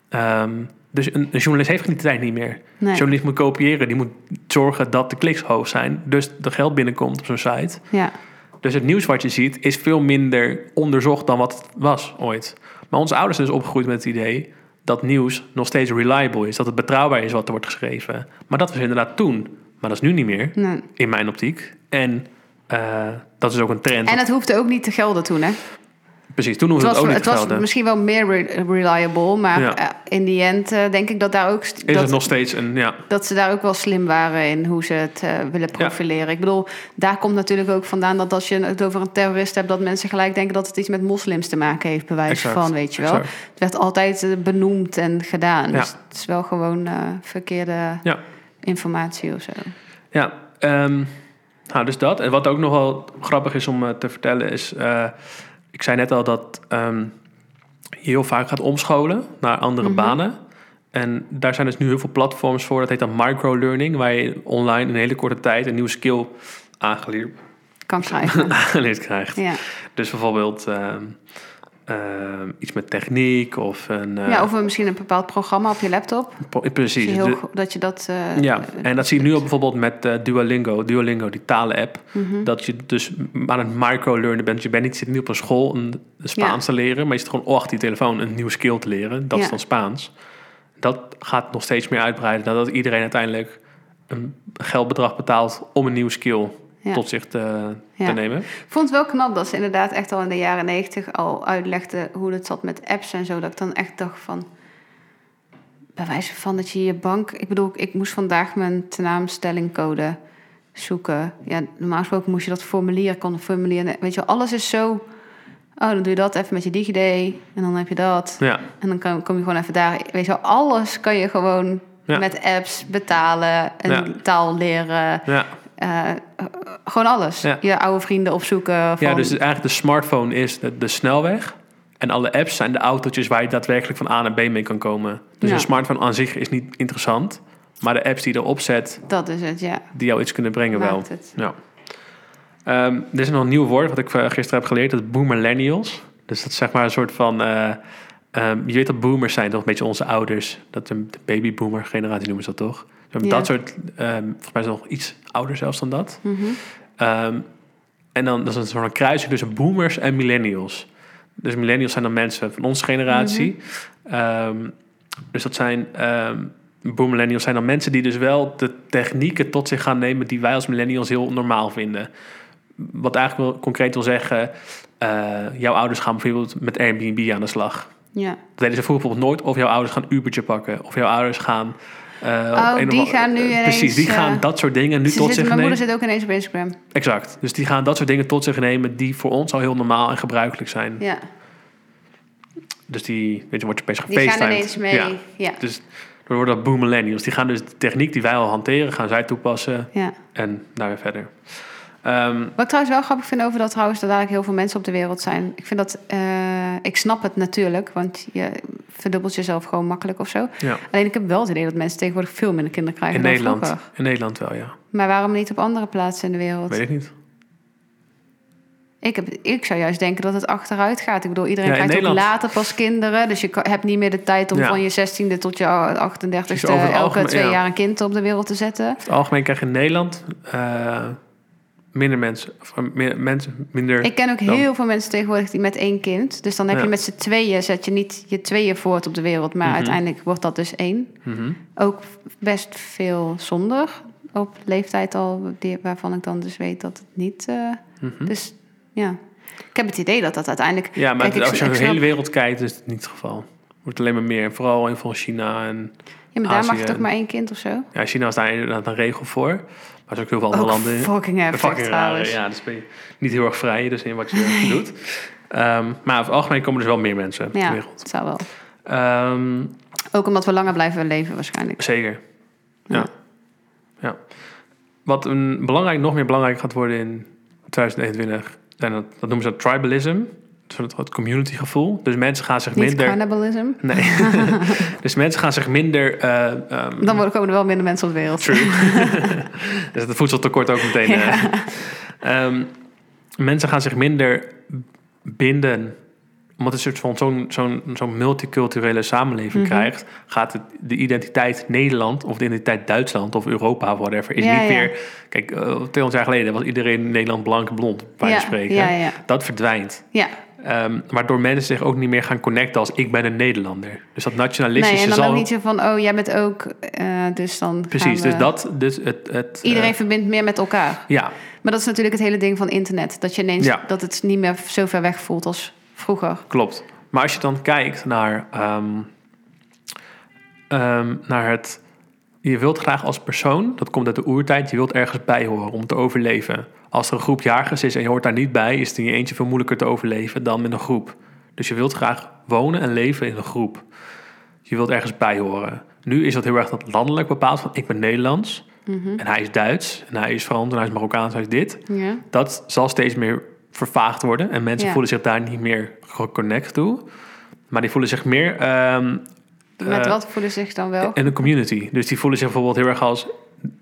[SPEAKER 1] Ehm, dus een, een journalist heeft die tijd niet meer. Een
[SPEAKER 2] nee.
[SPEAKER 1] journalist moet kopiëren. Die moet zorgen dat de kliks hoog zijn. Dus er geld binnenkomt op zo'n site.
[SPEAKER 2] Ja,
[SPEAKER 1] Dus het nieuws wat je ziet is veel minder onderzocht dan wat het was ooit. Maar onze ouders zijn dus opgegroeid met het idee dat nieuws nog steeds reliable is. Dat het betrouwbaar is wat er wordt geschreven. Maar dat was inderdaad toen. Maar dat is nu niet meer,
[SPEAKER 2] nee.
[SPEAKER 1] in mijn optiek. En eh, dat is ook een trend.
[SPEAKER 2] En het hoefde ook niet te gelden toen, hè?
[SPEAKER 1] Precies, toen hoefde
[SPEAKER 2] Het
[SPEAKER 1] het,
[SPEAKER 2] was,
[SPEAKER 1] ook niet
[SPEAKER 2] het
[SPEAKER 1] te
[SPEAKER 2] was
[SPEAKER 1] gelden. Is
[SPEAKER 2] misschien wel meer re- reliable, maar
[SPEAKER 1] Ja.
[SPEAKER 2] eh, in die end eh, denk ik dat daar ook st- dat,
[SPEAKER 1] het nog steeds een... Ja,
[SPEAKER 2] dat ze daar ook wel slim waren in hoe ze het eh, willen profileren. Ik bedoel, daar komt natuurlijk ook vandaan dat als je het over een terrorist hebt, dat mensen gelijk denken dat het iets met moslims te maken heeft, bij wijze
[SPEAKER 1] Exact,
[SPEAKER 2] van, weet je wel.
[SPEAKER 1] exact.
[SPEAKER 2] Het werd altijd eh, benoemd en gedaan.
[SPEAKER 1] Ja.
[SPEAKER 2] Dus het is wel gewoon eh, verkeerde
[SPEAKER 1] Ja.
[SPEAKER 2] informatie of zo.
[SPEAKER 1] Ja, ehm, nou dus dat. En wat ook nog wel grappig is om eh, te vertellen is... eh, ik zei net al dat ehm, je heel vaak gaat omscholen naar andere
[SPEAKER 2] Mhm.
[SPEAKER 1] banen. En daar zijn dus nu heel veel platforms voor. Dat heet dan microlearning, waar je online in een hele korte tijd een nieuwe skill aangeleerd,
[SPEAKER 2] Kan krijgen.
[SPEAKER 1] aangeleerd krijgt.
[SPEAKER 2] ja.
[SPEAKER 1] Dus bijvoorbeeld ehm, ehm, iets met techniek of een... eh,
[SPEAKER 2] ja, of misschien een bepaald programma op je laptop.
[SPEAKER 1] pro-
[SPEAKER 2] Dat je,
[SPEAKER 1] precies.
[SPEAKER 2] heel
[SPEAKER 1] De-
[SPEAKER 2] go- dat, je dat... eh,
[SPEAKER 1] ja, en dat zie je nu ook bijvoorbeeld met eh, Duolingo, Duolingo, die talen-app.
[SPEAKER 2] mhm. Hm.
[SPEAKER 1] Dat je dus aan het micro-learnen bent. Je bent niet, zit niet op een school een Spaans te leren, maar je zit gewoon oh, achter die telefoon een nieuwe skill te leren. Dat is
[SPEAKER 2] Ja.
[SPEAKER 1] dan Spaans. Dat gaat nog steeds meer uitbreiden nadat iedereen uiteindelijk een geldbedrag betaalt om een nieuwe skill
[SPEAKER 2] Ja.
[SPEAKER 1] tot zich te,
[SPEAKER 2] Ja.
[SPEAKER 1] te nemen.
[SPEAKER 2] Ik vond het wel knap dat ze inderdaad echt al in de jaren negentig al uitlegde hoe het zat met apps en zo. Dat ik dan echt dacht van, bij wijze van dat je je bank... Ik bedoel, ik moest vandaag mijn tenaamstellingcode zoeken. Ja, normaal gesproken moest je dat formulier, kon een formulier... Weet je, wel, alles is zo... Oh, dan doe je dat even met je DigiD en dan heb je dat.
[SPEAKER 1] Ja,
[SPEAKER 2] En dan kan- kom je gewoon even daar. Weet je, wel, alles kan je gewoon
[SPEAKER 1] Ja.
[SPEAKER 2] met apps betalen, een
[SPEAKER 1] Ja.
[SPEAKER 2] taal leren...
[SPEAKER 1] ja.
[SPEAKER 2] Eh, eh, gewoon alles.
[SPEAKER 1] Ja.
[SPEAKER 2] Je oude vrienden opzoeken. Van,
[SPEAKER 1] ja, dus eigenlijk de smartphone is de, de snelweg. En alle apps zijn de autootjes waar je daadwerkelijk van A naar B mee kan komen. Dus
[SPEAKER 2] Ja.
[SPEAKER 1] een smartphone aan zich is niet interessant. Maar de apps die je erop zet,
[SPEAKER 2] dat is het, ja.
[SPEAKER 1] die jou iets kunnen brengen wel.
[SPEAKER 2] Maakt het.
[SPEAKER 1] Ja. Ehm, er is nog een nieuw woord wat ik eh, gisteren heb geleerd. Dat is boomerlennials. Dus dat is zeg maar een soort van... eh, ehm, je weet dat boomers zijn, toch? Een beetje onze ouders. Dat de de babyboomer generatie noemen ze dat toch? Dus
[SPEAKER 2] Ja.
[SPEAKER 1] Dat soort... ehm, volgens mij is het nog iets ouder zelfs dan dat.
[SPEAKER 2] Mhm.
[SPEAKER 1] Ehm, en dan dat is een soort van kruising tussen boomers en millennials. Dus millennials zijn dan mensen van onze generatie.
[SPEAKER 2] Mhm.
[SPEAKER 1] Ehm, dus dat zijn ehm boomillennials zijn dan mensen die dus wel de technieken tot zich gaan nemen die wij als millennials heel normaal vinden. Wat eigenlijk wel concreet wil zeggen, eh, jouw ouders gaan bijvoorbeeld met Airbnb aan de slag.
[SPEAKER 2] ja.
[SPEAKER 1] Dat deden ze vroeger bijvoorbeeld nooit. Of jouw ouders gaan Ubertje pakken. Of jouw ouders gaan... eh, op
[SPEAKER 2] Oh,
[SPEAKER 1] een of
[SPEAKER 2] die
[SPEAKER 1] andere-
[SPEAKER 2] gaan nu
[SPEAKER 1] Precies,
[SPEAKER 2] ineens,
[SPEAKER 1] die gaan
[SPEAKER 2] eh,
[SPEAKER 1] dat soort dingen nu
[SPEAKER 2] Ze
[SPEAKER 1] tot
[SPEAKER 2] zitten-
[SPEAKER 1] zich
[SPEAKER 2] mijn
[SPEAKER 1] nemen.
[SPEAKER 2] moeder zit ook ineens op Instagram.
[SPEAKER 1] Exact. Dus die gaan dat soort dingen tot zich nemen die voor ons al heel normaal en gebruikelijk zijn.
[SPEAKER 2] Ja.
[SPEAKER 1] Dus die, weet je, wordt je opeens
[SPEAKER 2] Die gaan
[SPEAKER 1] gefacetimed.
[SPEAKER 2] ineens mee. Ja.
[SPEAKER 1] Dus Dan worden dat boom millennials. Die gaan dus de techniek die wij al hanteren, gaan zij toepassen
[SPEAKER 2] Ja.
[SPEAKER 1] en daar weer verder. Ehm,
[SPEAKER 2] Wat ik trouwens wel grappig vind over dat trouwens, dat dadelijk heel veel mensen op de wereld zijn. Ik vind dat, eh, ik snap het natuurlijk, want je verdubbelt jezelf gewoon makkelijk of zo.
[SPEAKER 1] ja.
[SPEAKER 2] Alleen ik heb wel het idee dat mensen tegenwoordig veel minder kinderen krijgen
[SPEAKER 1] In
[SPEAKER 2] dan
[SPEAKER 1] Nederland.
[SPEAKER 2] vroeger.
[SPEAKER 1] In Nederland wel, ja.
[SPEAKER 2] Maar waarom niet op andere plaatsen in de wereld?
[SPEAKER 1] Weet ik niet.
[SPEAKER 2] Ik, heb, ik zou juist denken dat het achteruit gaat. Ik bedoel, iedereen
[SPEAKER 1] Ja, in
[SPEAKER 2] krijgt ook
[SPEAKER 1] Nederland.
[SPEAKER 2] later pas kinderen. Dus je ka- hebt niet meer de tijd om
[SPEAKER 1] Ja.
[SPEAKER 2] van je 16e tot je 38e
[SPEAKER 1] Precies, over het
[SPEAKER 2] elke
[SPEAKER 1] algemeen,
[SPEAKER 2] twee
[SPEAKER 1] ja.
[SPEAKER 2] jaar een kind op de wereld te zetten.
[SPEAKER 1] Over het algemeen krijg je in Nederland eh, minder mensen. Of, eh, meer, mensen minder.
[SPEAKER 2] Ik ken ook
[SPEAKER 1] Dan-
[SPEAKER 2] heel veel mensen tegenwoordig die met één kind. Dus dan heb
[SPEAKER 1] Ja.
[SPEAKER 2] je met z'n tweeën, zet je niet je tweeën voort op de wereld. Maar
[SPEAKER 1] Mhm.
[SPEAKER 2] uiteindelijk wordt dat dus één.
[SPEAKER 1] Mhm.
[SPEAKER 2] Ook best veel zonder. Op leeftijd al, die, waarvan ik dan dus weet dat het niet. eh,
[SPEAKER 1] Mhm.
[SPEAKER 2] Dus ja, ik heb het idee dat dat uiteindelijk.
[SPEAKER 1] Ja, maar
[SPEAKER 2] Kijk, ik-
[SPEAKER 1] als je
[SPEAKER 2] ik
[SPEAKER 1] naar de
[SPEAKER 2] snap-
[SPEAKER 1] hele wereld kijkt, is het niet het geval. wordt alleen maar meer. En Vooral in van China. En,
[SPEAKER 2] Ja, maar daar mag
[SPEAKER 1] Azië
[SPEAKER 2] het ook
[SPEAKER 1] en-
[SPEAKER 2] maar één kind of zo.
[SPEAKER 1] ja, China is daar inderdaad een regel voor. Maar er is ook heel veel andere
[SPEAKER 2] Ook
[SPEAKER 1] landen.
[SPEAKER 2] fucking heftig
[SPEAKER 1] Fucking raar.
[SPEAKER 2] trouwens.
[SPEAKER 1] Ja, dus ben je niet heel erg vrij dus in wat je doet. Ehm, maar over het algemeen komen dus wel meer mensen op de
[SPEAKER 2] Ja,
[SPEAKER 1] wereld.
[SPEAKER 2] het zou wel.
[SPEAKER 1] Ehm,
[SPEAKER 2] Ook omdat we langer blijven leven waarschijnlijk.
[SPEAKER 1] Zeker. Ja. ja.
[SPEAKER 2] Ja.
[SPEAKER 1] Wat een belangrijk, nog meer belangrijk gaat worden in 2021, en dat, dat noemen ze dat tribalism. Dus dat het community gevoel. Dus mensen gaan zich
[SPEAKER 2] Niet
[SPEAKER 1] minder.
[SPEAKER 2] cannibalism.
[SPEAKER 1] Nee. dus mensen gaan zich minder. eh, ehm,
[SPEAKER 2] Dan worden komen er wel minder mensen op de wereld.
[SPEAKER 1] True. dus het voedseltekort ook meteen. eh. Ehm, mensen gaan zich minder binden. Omdat het soort van zo'n zo'n zo'n multiculturele samenleving
[SPEAKER 2] Mhm.
[SPEAKER 1] krijgt, gaat het, de identiteit Nederland of de identiteit Duitsland of Europa of whatever, is
[SPEAKER 2] Ja,
[SPEAKER 1] niet
[SPEAKER 2] ja.
[SPEAKER 1] meer. Kijk, eh, 200 jaar geleden was iedereen in Nederland blank en blond, bij
[SPEAKER 2] ja,
[SPEAKER 1] wijze van spreken.
[SPEAKER 2] Ja, ja.
[SPEAKER 1] Dat verdwijnt.
[SPEAKER 2] ja.
[SPEAKER 1] Ehm, waardoor mensen zich ook niet meer gaan connecten als ik ben een Nederlander. Dus dat nationalistische
[SPEAKER 2] Nee, en dan
[SPEAKER 1] zal.
[SPEAKER 2] ook niet zo van, oh, jij bent ook, eh, dus dan gaan
[SPEAKER 1] Precies,
[SPEAKER 2] we-
[SPEAKER 1] dus dat. Dus het, het, eh,
[SPEAKER 2] Iedereen verbindt meer met elkaar.
[SPEAKER 1] ja,
[SPEAKER 2] Maar dat is natuurlijk het hele ding van internet. Dat je ineens,
[SPEAKER 1] Ja.
[SPEAKER 2] dat het niet meer zo ver weg voelt als vroeger.
[SPEAKER 1] Klopt. Maar als je dan kijkt naar, ehm, ehm, naar het. Je wilt graag als persoon, dat komt uit de oertijd, je wilt ergens bij horen om te overleven. Als er een groep jagers is en je hoort daar niet bij, is het in je eentje veel moeilijker te overleven dan met een groep. Dus je wilt graag wonen en leven in een groep. Je wilt ergens bij horen. Nu is dat heel erg dat landelijk bepaald van ik ben Nederlands
[SPEAKER 2] Mhm.
[SPEAKER 1] en hij is Duits en hij is Frans en hij is Marokkaans, hij is dit
[SPEAKER 2] Ja.
[SPEAKER 1] dat zal steeds meer vervaagd worden. En mensen
[SPEAKER 2] Ja.
[SPEAKER 1] voelen zich daar niet meer geconnect toe. Maar die voelen zich meer ehm,
[SPEAKER 2] Met
[SPEAKER 1] eh,
[SPEAKER 2] wat voelen ze zich dan wel?
[SPEAKER 1] in de community. Dus die voelen zich bijvoorbeeld heel erg als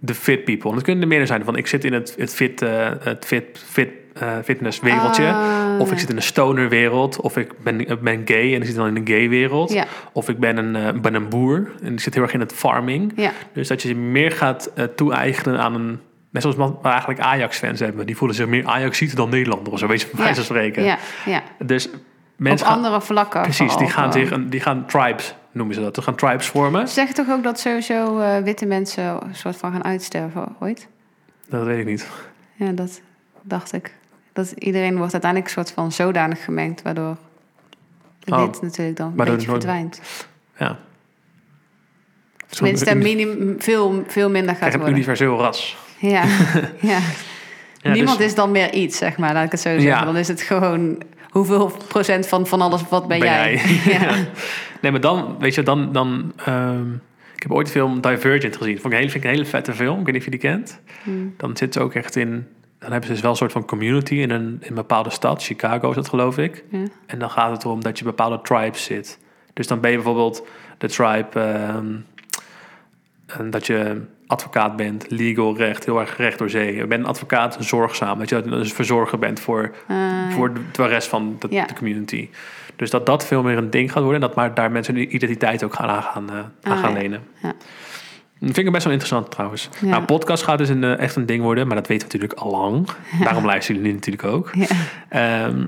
[SPEAKER 1] de fit people. En dat kunnen er meer zijn. Van ik zit in het, het, fit, eh, het fit, fit, eh, fitnesswereldje.
[SPEAKER 2] Ah,
[SPEAKER 1] Of ik zit in een stonerwereld. Of ik ben, ik ben gay en ik zit dan in een gay wereld.
[SPEAKER 2] Ja.
[SPEAKER 1] Of ik ben een, eh, ben een boer en ik zit heel erg in het farming.
[SPEAKER 2] Ja.
[SPEAKER 1] Dus dat je je meer gaat eh, toe-eigenen aan een... Net zoals wat we eigenlijk Ajax-fans hebben. Die voelen zich meer Ajaxiter dan Nederlander of zo, weet je, van
[SPEAKER 2] Ja.
[SPEAKER 1] wijze van spreken.
[SPEAKER 2] Ja, ja.
[SPEAKER 1] Dus
[SPEAKER 2] Op
[SPEAKER 1] mensen gaan...
[SPEAKER 2] andere vlakken.
[SPEAKER 1] Precies, die
[SPEAKER 2] vooral
[SPEAKER 1] gaan,
[SPEAKER 2] gewoon.
[SPEAKER 1] zich, een- die gaan tribes, noemen ze dat. Ze gaan tribes vormen.
[SPEAKER 2] Ze zeggen toch ook dat sowieso eh, witte mensen een soort van gaan uitsterven ooit?
[SPEAKER 1] Dat weet ik niet.
[SPEAKER 2] Ja, dat dacht ik. Dat iedereen wordt uiteindelijk een soort van zodanig gemengd, waardoor
[SPEAKER 1] Oh.
[SPEAKER 2] wit natuurlijk dan een
[SPEAKER 1] Waardoor
[SPEAKER 2] beetje
[SPEAKER 1] het nooit-
[SPEAKER 2] verdwijnt.
[SPEAKER 1] Ja.
[SPEAKER 2] Tenminste,
[SPEAKER 1] Zo'n uni-
[SPEAKER 2] minim, veel, veel minder gaat
[SPEAKER 1] krijg een
[SPEAKER 2] worden.
[SPEAKER 1] universeel ras.
[SPEAKER 2] Ja, ja.
[SPEAKER 1] Ja,
[SPEAKER 2] Niemand
[SPEAKER 1] dus
[SPEAKER 2] is dan meer iets, zeg maar, laat ik het zo zeggen.
[SPEAKER 1] Ja.
[SPEAKER 2] Dan is het gewoon hoeveel procent van, van alles wat ben,
[SPEAKER 1] ben
[SPEAKER 2] jij. Ja.
[SPEAKER 1] Ja. Nee, maar dan, weet je, dan... dan ehm, ik heb ooit de film Divergent gezien. Vond ik, een hele, vind ik een hele vette film. Ik weet niet of je die kent.
[SPEAKER 2] Hmm.
[SPEAKER 1] dan zit ze ook echt in. Dan hebben ze dus wel een soort van community in een, in een bepaalde stad. Chicago is dat, geloof ik.
[SPEAKER 2] Ja.
[SPEAKER 1] En dan gaat het erom dat je bepaalde tribes zit. Dus dan ben je bijvoorbeeld de tribe. ehm, en dat je advocaat bent, legal recht, heel erg recht door zee. Je bent een advocaat, zorgzaam. Dat je dus verzorger bent voor,
[SPEAKER 2] Eh,
[SPEAKER 1] voor de, de rest van de,
[SPEAKER 2] Ja.
[SPEAKER 1] de community. Dus dat dat veel meer een ding gaat worden. En dat maar daar mensen hun identiteit ook gaan, aan gaan, eh, aan
[SPEAKER 2] Ah,
[SPEAKER 1] gaan
[SPEAKER 2] ja.
[SPEAKER 1] lenen.
[SPEAKER 2] Ja.
[SPEAKER 1] Dat Vind ik best wel interessant trouwens.
[SPEAKER 2] Ja.
[SPEAKER 1] Nou, podcast gaat dus een, eh, echt een ding worden. Maar dat weten we natuurlijk al lang. Daarom luisteren jullie nu natuurlijk ook.
[SPEAKER 2] ja.
[SPEAKER 1] Ehm,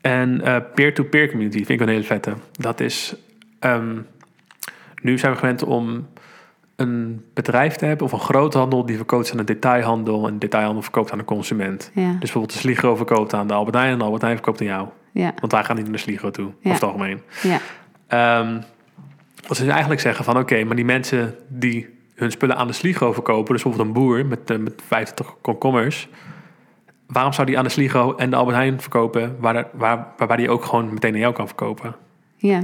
[SPEAKER 1] en eh, peer-to-peer community vind ik wel een hele vette. Dat is... ehm, nu zijn we gewend om een bedrijf te hebben... of een groothandel die verkoopt aan een detailhandel... en de detailhandel verkoopt aan de consument.
[SPEAKER 2] Ja.
[SPEAKER 1] Dus bijvoorbeeld de Sligro verkoopt aan de Albert Heijn... en de Albert Heijn verkoopt aan jou.
[SPEAKER 2] Ja.
[SPEAKER 1] Want wij gaan niet naar de Sligro toe, over
[SPEAKER 2] Ja.
[SPEAKER 1] het algemeen.
[SPEAKER 2] Ja.
[SPEAKER 1] Ehm, wat ze dus eigenlijk zeggen van... oké, maar die mensen die hun spullen aan de Sligro verkopen... dus bijvoorbeeld een boer met, eh, met 50 komkommers... waarom zou die aan de Sligro en de Albert Heijn verkopen... Waar, waar, waarbij die ook gewoon meteen aan jou kan verkopen?
[SPEAKER 2] Ja.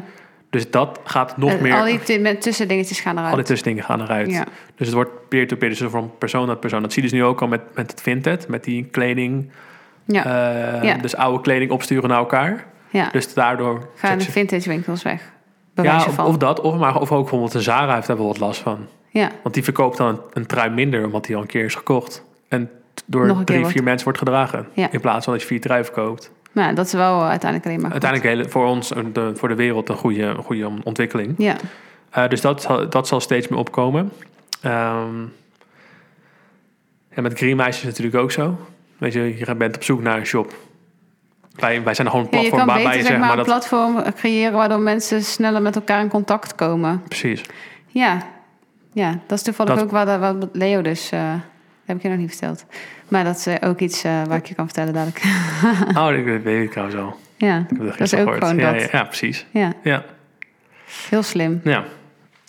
[SPEAKER 1] Dus dat gaat nog
[SPEAKER 2] Eh,
[SPEAKER 1] meer...
[SPEAKER 2] Al die t- met tussendingetjes gaan eruit.
[SPEAKER 1] Al die tussendingen gaan eruit.
[SPEAKER 2] Ja.
[SPEAKER 1] Dus het wordt peer-to-peer, dus van persoon naar persoon. Dat zie je dus nu ook al met, met het Vinted, met die kleding.
[SPEAKER 2] ja,
[SPEAKER 1] eh,
[SPEAKER 2] Ja.
[SPEAKER 1] Dus oude kleding opsturen naar elkaar.
[SPEAKER 2] ja.
[SPEAKER 1] Dus daardoor...
[SPEAKER 2] gaan de
[SPEAKER 1] check ze-
[SPEAKER 2] vintage winkels weg.
[SPEAKER 1] ja,
[SPEAKER 2] Bewijzen
[SPEAKER 1] of,
[SPEAKER 2] van.
[SPEAKER 1] of dat, of, maar, of ook bijvoorbeeld een Zara heeft daar wel wat last van.
[SPEAKER 2] ja,
[SPEAKER 1] Want die verkoopt dan een, een trui minder, omdat die al een keer is gekocht. En t- door
[SPEAKER 2] Nog een
[SPEAKER 1] drie,
[SPEAKER 2] keer
[SPEAKER 1] vier
[SPEAKER 2] wordt-
[SPEAKER 1] mensen wordt gedragen.
[SPEAKER 2] Ja.
[SPEAKER 1] In plaats van dat je vier trui verkoopt.
[SPEAKER 2] nou, dat is wel eh, uiteindelijk alleen maar goed.
[SPEAKER 1] Uiteindelijk hele, voor ons, een- de- voor de wereld, een goede, een goede ontwikkeling.
[SPEAKER 2] Ja,
[SPEAKER 1] Eh, dus dat, zal- dat zal steeds meer opkomen. Ehm, en met Green Meisjes is het natuurlijk ook zo. Weet je, je gaat- bent op zoek naar een shop. Wij, wij zijn gewoon een
[SPEAKER 2] Ja, je
[SPEAKER 1] platform
[SPEAKER 2] kan
[SPEAKER 1] waarbij
[SPEAKER 2] beter
[SPEAKER 1] je
[SPEAKER 2] zeg
[SPEAKER 1] zegt,
[SPEAKER 2] maar,
[SPEAKER 1] maar
[SPEAKER 2] een
[SPEAKER 1] dat...
[SPEAKER 2] platform eh, creëren waardoor mensen sneller met elkaar in contact komen.
[SPEAKER 1] Precies.
[SPEAKER 2] Ja, ja dat is toevallig
[SPEAKER 1] Dat-
[SPEAKER 2] ook wat, wat Leo dus... eh, heb ik je nog niet verteld. Maar dat is eh, ook iets eh, waar ik je kan vertellen dadelijk.
[SPEAKER 1] Oh, dat dat weet ik trouwens al.
[SPEAKER 2] ja,
[SPEAKER 1] Ik heb dat, gisteren
[SPEAKER 2] is ook
[SPEAKER 1] gehoord.
[SPEAKER 2] gewoon
[SPEAKER 1] ja,
[SPEAKER 2] dat.
[SPEAKER 1] Ja, ja, precies.
[SPEAKER 2] ja,
[SPEAKER 1] Ja,
[SPEAKER 2] heel slim.
[SPEAKER 1] ja.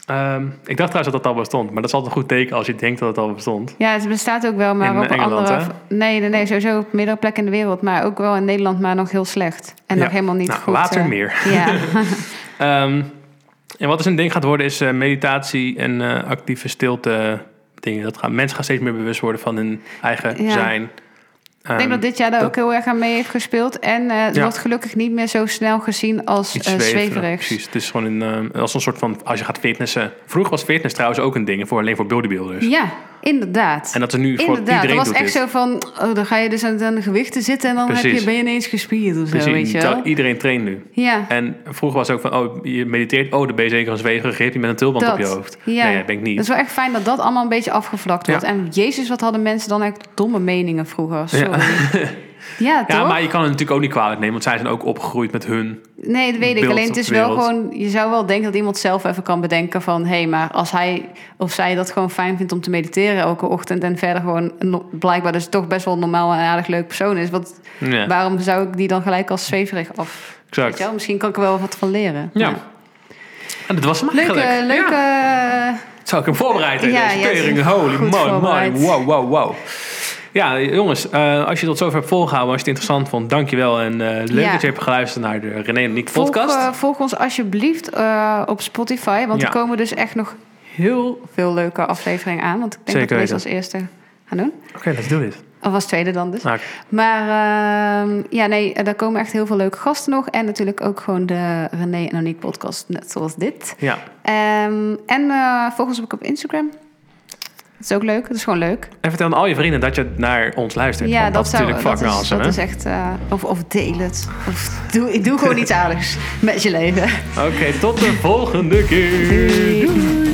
[SPEAKER 1] Ehm, ik dacht trouwens dat dat al bestond. Maar dat is altijd een goed teken als je denkt dat het al bestond.
[SPEAKER 2] Ja, het bestaat ook wel, maar
[SPEAKER 1] In,
[SPEAKER 2] op
[SPEAKER 1] eh, Engeland,
[SPEAKER 2] andere... Nee, nee, nee, sowieso op meerdere plekken in de wereld. Maar ook wel in Nederland, maar nog heel slecht. En
[SPEAKER 1] Ja.
[SPEAKER 2] nog helemaal niet
[SPEAKER 1] nou,
[SPEAKER 2] goed.
[SPEAKER 1] later
[SPEAKER 2] eh,
[SPEAKER 1] meer.
[SPEAKER 2] Ja,
[SPEAKER 1] Ehm, en wat dus een ding gaat worden is eh, meditatie en eh, actieve stilte dingen. Dat gaan, mensen gaan steeds meer bewust worden van hun eigen
[SPEAKER 2] Ja.
[SPEAKER 1] zijn.
[SPEAKER 2] ik
[SPEAKER 1] Ehm,
[SPEAKER 2] denk dat dit jaar daar
[SPEAKER 1] dat-
[SPEAKER 2] ook heel erg aan mee heeft gespeeld. En eh, het
[SPEAKER 1] Ja.
[SPEAKER 2] wordt gelukkig niet meer zo snel gezien als
[SPEAKER 1] iets
[SPEAKER 2] eh,
[SPEAKER 1] zweverig,
[SPEAKER 2] zweverigs.
[SPEAKER 1] Precies, het is gewoon een, ehm, als een soort van, als je gaat fitnessen. Vroeger was fitness trouwens ook een ding, voor, alleen voor bodybuilders.
[SPEAKER 2] Ja, inderdaad.
[SPEAKER 1] En dat is nu voor
[SPEAKER 2] Inderdaad, dat
[SPEAKER 1] iedereen
[SPEAKER 2] was
[SPEAKER 1] doet
[SPEAKER 2] echt
[SPEAKER 1] dit.
[SPEAKER 2] zo van, oh, dan ga je dus aan, aan de gewichten zitten en dan heb
[SPEAKER 1] Precies.
[SPEAKER 2] je, ben je ineens gespierd of zo,
[SPEAKER 1] Precies,
[SPEAKER 2] weet je
[SPEAKER 1] terwijl
[SPEAKER 2] wel.
[SPEAKER 1] Dus iedereen traint nu.
[SPEAKER 2] Ja,
[SPEAKER 1] En vroeger was het ook van, oh, je mediteert. Oh, dan ben je zeker een zweverig hippie met een tulband
[SPEAKER 2] Dat,
[SPEAKER 1] op je hoofd.
[SPEAKER 2] ja.
[SPEAKER 1] Nee, dat ben ik
[SPEAKER 2] dat is
[SPEAKER 1] niet.
[SPEAKER 2] wel echt fijn dat dat allemaal een beetje afgevlakt wordt.
[SPEAKER 1] Ja.
[SPEAKER 2] En jezus, wat hadden mensen dan echt domme meningen vroeger, sorry. Ja, toch?
[SPEAKER 1] Ja, maar je kan het natuurlijk ook niet kwalijk nemen, want zij zijn ook opgegroeid met hun.
[SPEAKER 2] Nee, dat weet ik.
[SPEAKER 1] beeld
[SPEAKER 2] Alleen het
[SPEAKER 1] op
[SPEAKER 2] is
[SPEAKER 1] de
[SPEAKER 2] wel
[SPEAKER 1] wereld.
[SPEAKER 2] gewoon... Je zou wel denken dat iemand zelf even kan bedenken van... hé, hey, maar als hij of zij dat gewoon fijn vindt om te mediteren elke ochtend... en verder gewoon een no- blijkbaar dus toch best wel een normaal en aardig leuk persoon is... Wat,
[SPEAKER 1] Ja,
[SPEAKER 2] waarom zou ik die dan gelijk als zweverig af... Weet je
[SPEAKER 1] exact.
[SPEAKER 2] wel, misschien kan ik er wel wat van leren.
[SPEAKER 1] Ja. En dat was hem
[SPEAKER 2] Leuke,
[SPEAKER 1] eigenlijk. Ja.
[SPEAKER 2] leuke... eh,
[SPEAKER 1] Zou ik hem voorbereiden?
[SPEAKER 2] Ja,
[SPEAKER 1] deze
[SPEAKER 2] ja,
[SPEAKER 1] tering?
[SPEAKER 2] goed
[SPEAKER 1] Holy man, man.
[SPEAKER 2] voorbereid.
[SPEAKER 1] Wow, wow, wow. Ja, jongens, eh, als je tot zover hebt volgehouden, als je het interessant vond, dankjewel. En eh, leuk
[SPEAKER 2] Ja.
[SPEAKER 1] dat je hebt geluisterd naar de René en Nick
[SPEAKER 2] Volg,
[SPEAKER 1] podcast.
[SPEAKER 2] eh, volg ons alsjeblieft eh, op Spotify. Want
[SPEAKER 1] Ja.
[SPEAKER 2] er komen dus echt nog heel veel leuke afleveringen aan. Want ik denk
[SPEAKER 1] Zeker
[SPEAKER 2] dat we deze als
[SPEAKER 1] weten.
[SPEAKER 2] eerste gaan doen.
[SPEAKER 1] Oké, let's do it.
[SPEAKER 2] Of als tweede dan dus.
[SPEAKER 1] Nou,
[SPEAKER 2] Maar ehm, ja, nee, daar komen echt heel veel leuke gasten nog. En natuurlijk ook gewoon de René en Aniek podcast, net zoals dit.
[SPEAKER 1] ja.
[SPEAKER 2] Ehm, en eh, volg ons ook op Instagram. Dat is ook leuk, dat is gewoon leuk.
[SPEAKER 1] En vertel aan al je vrienden dat je naar ons luistert.
[SPEAKER 2] ja,
[SPEAKER 1] want
[SPEAKER 2] dat,
[SPEAKER 1] dat,
[SPEAKER 2] zou,
[SPEAKER 1] natuurlijk
[SPEAKER 2] dat,
[SPEAKER 1] fucking
[SPEAKER 2] is,
[SPEAKER 1] awesome,
[SPEAKER 2] dat
[SPEAKER 1] hè?
[SPEAKER 2] is echt... eh, of, of deel het. Of doe, ik doe gewoon iets aardigs met je leven.
[SPEAKER 1] Oké, tot de volgende keer.
[SPEAKER 2] Doei.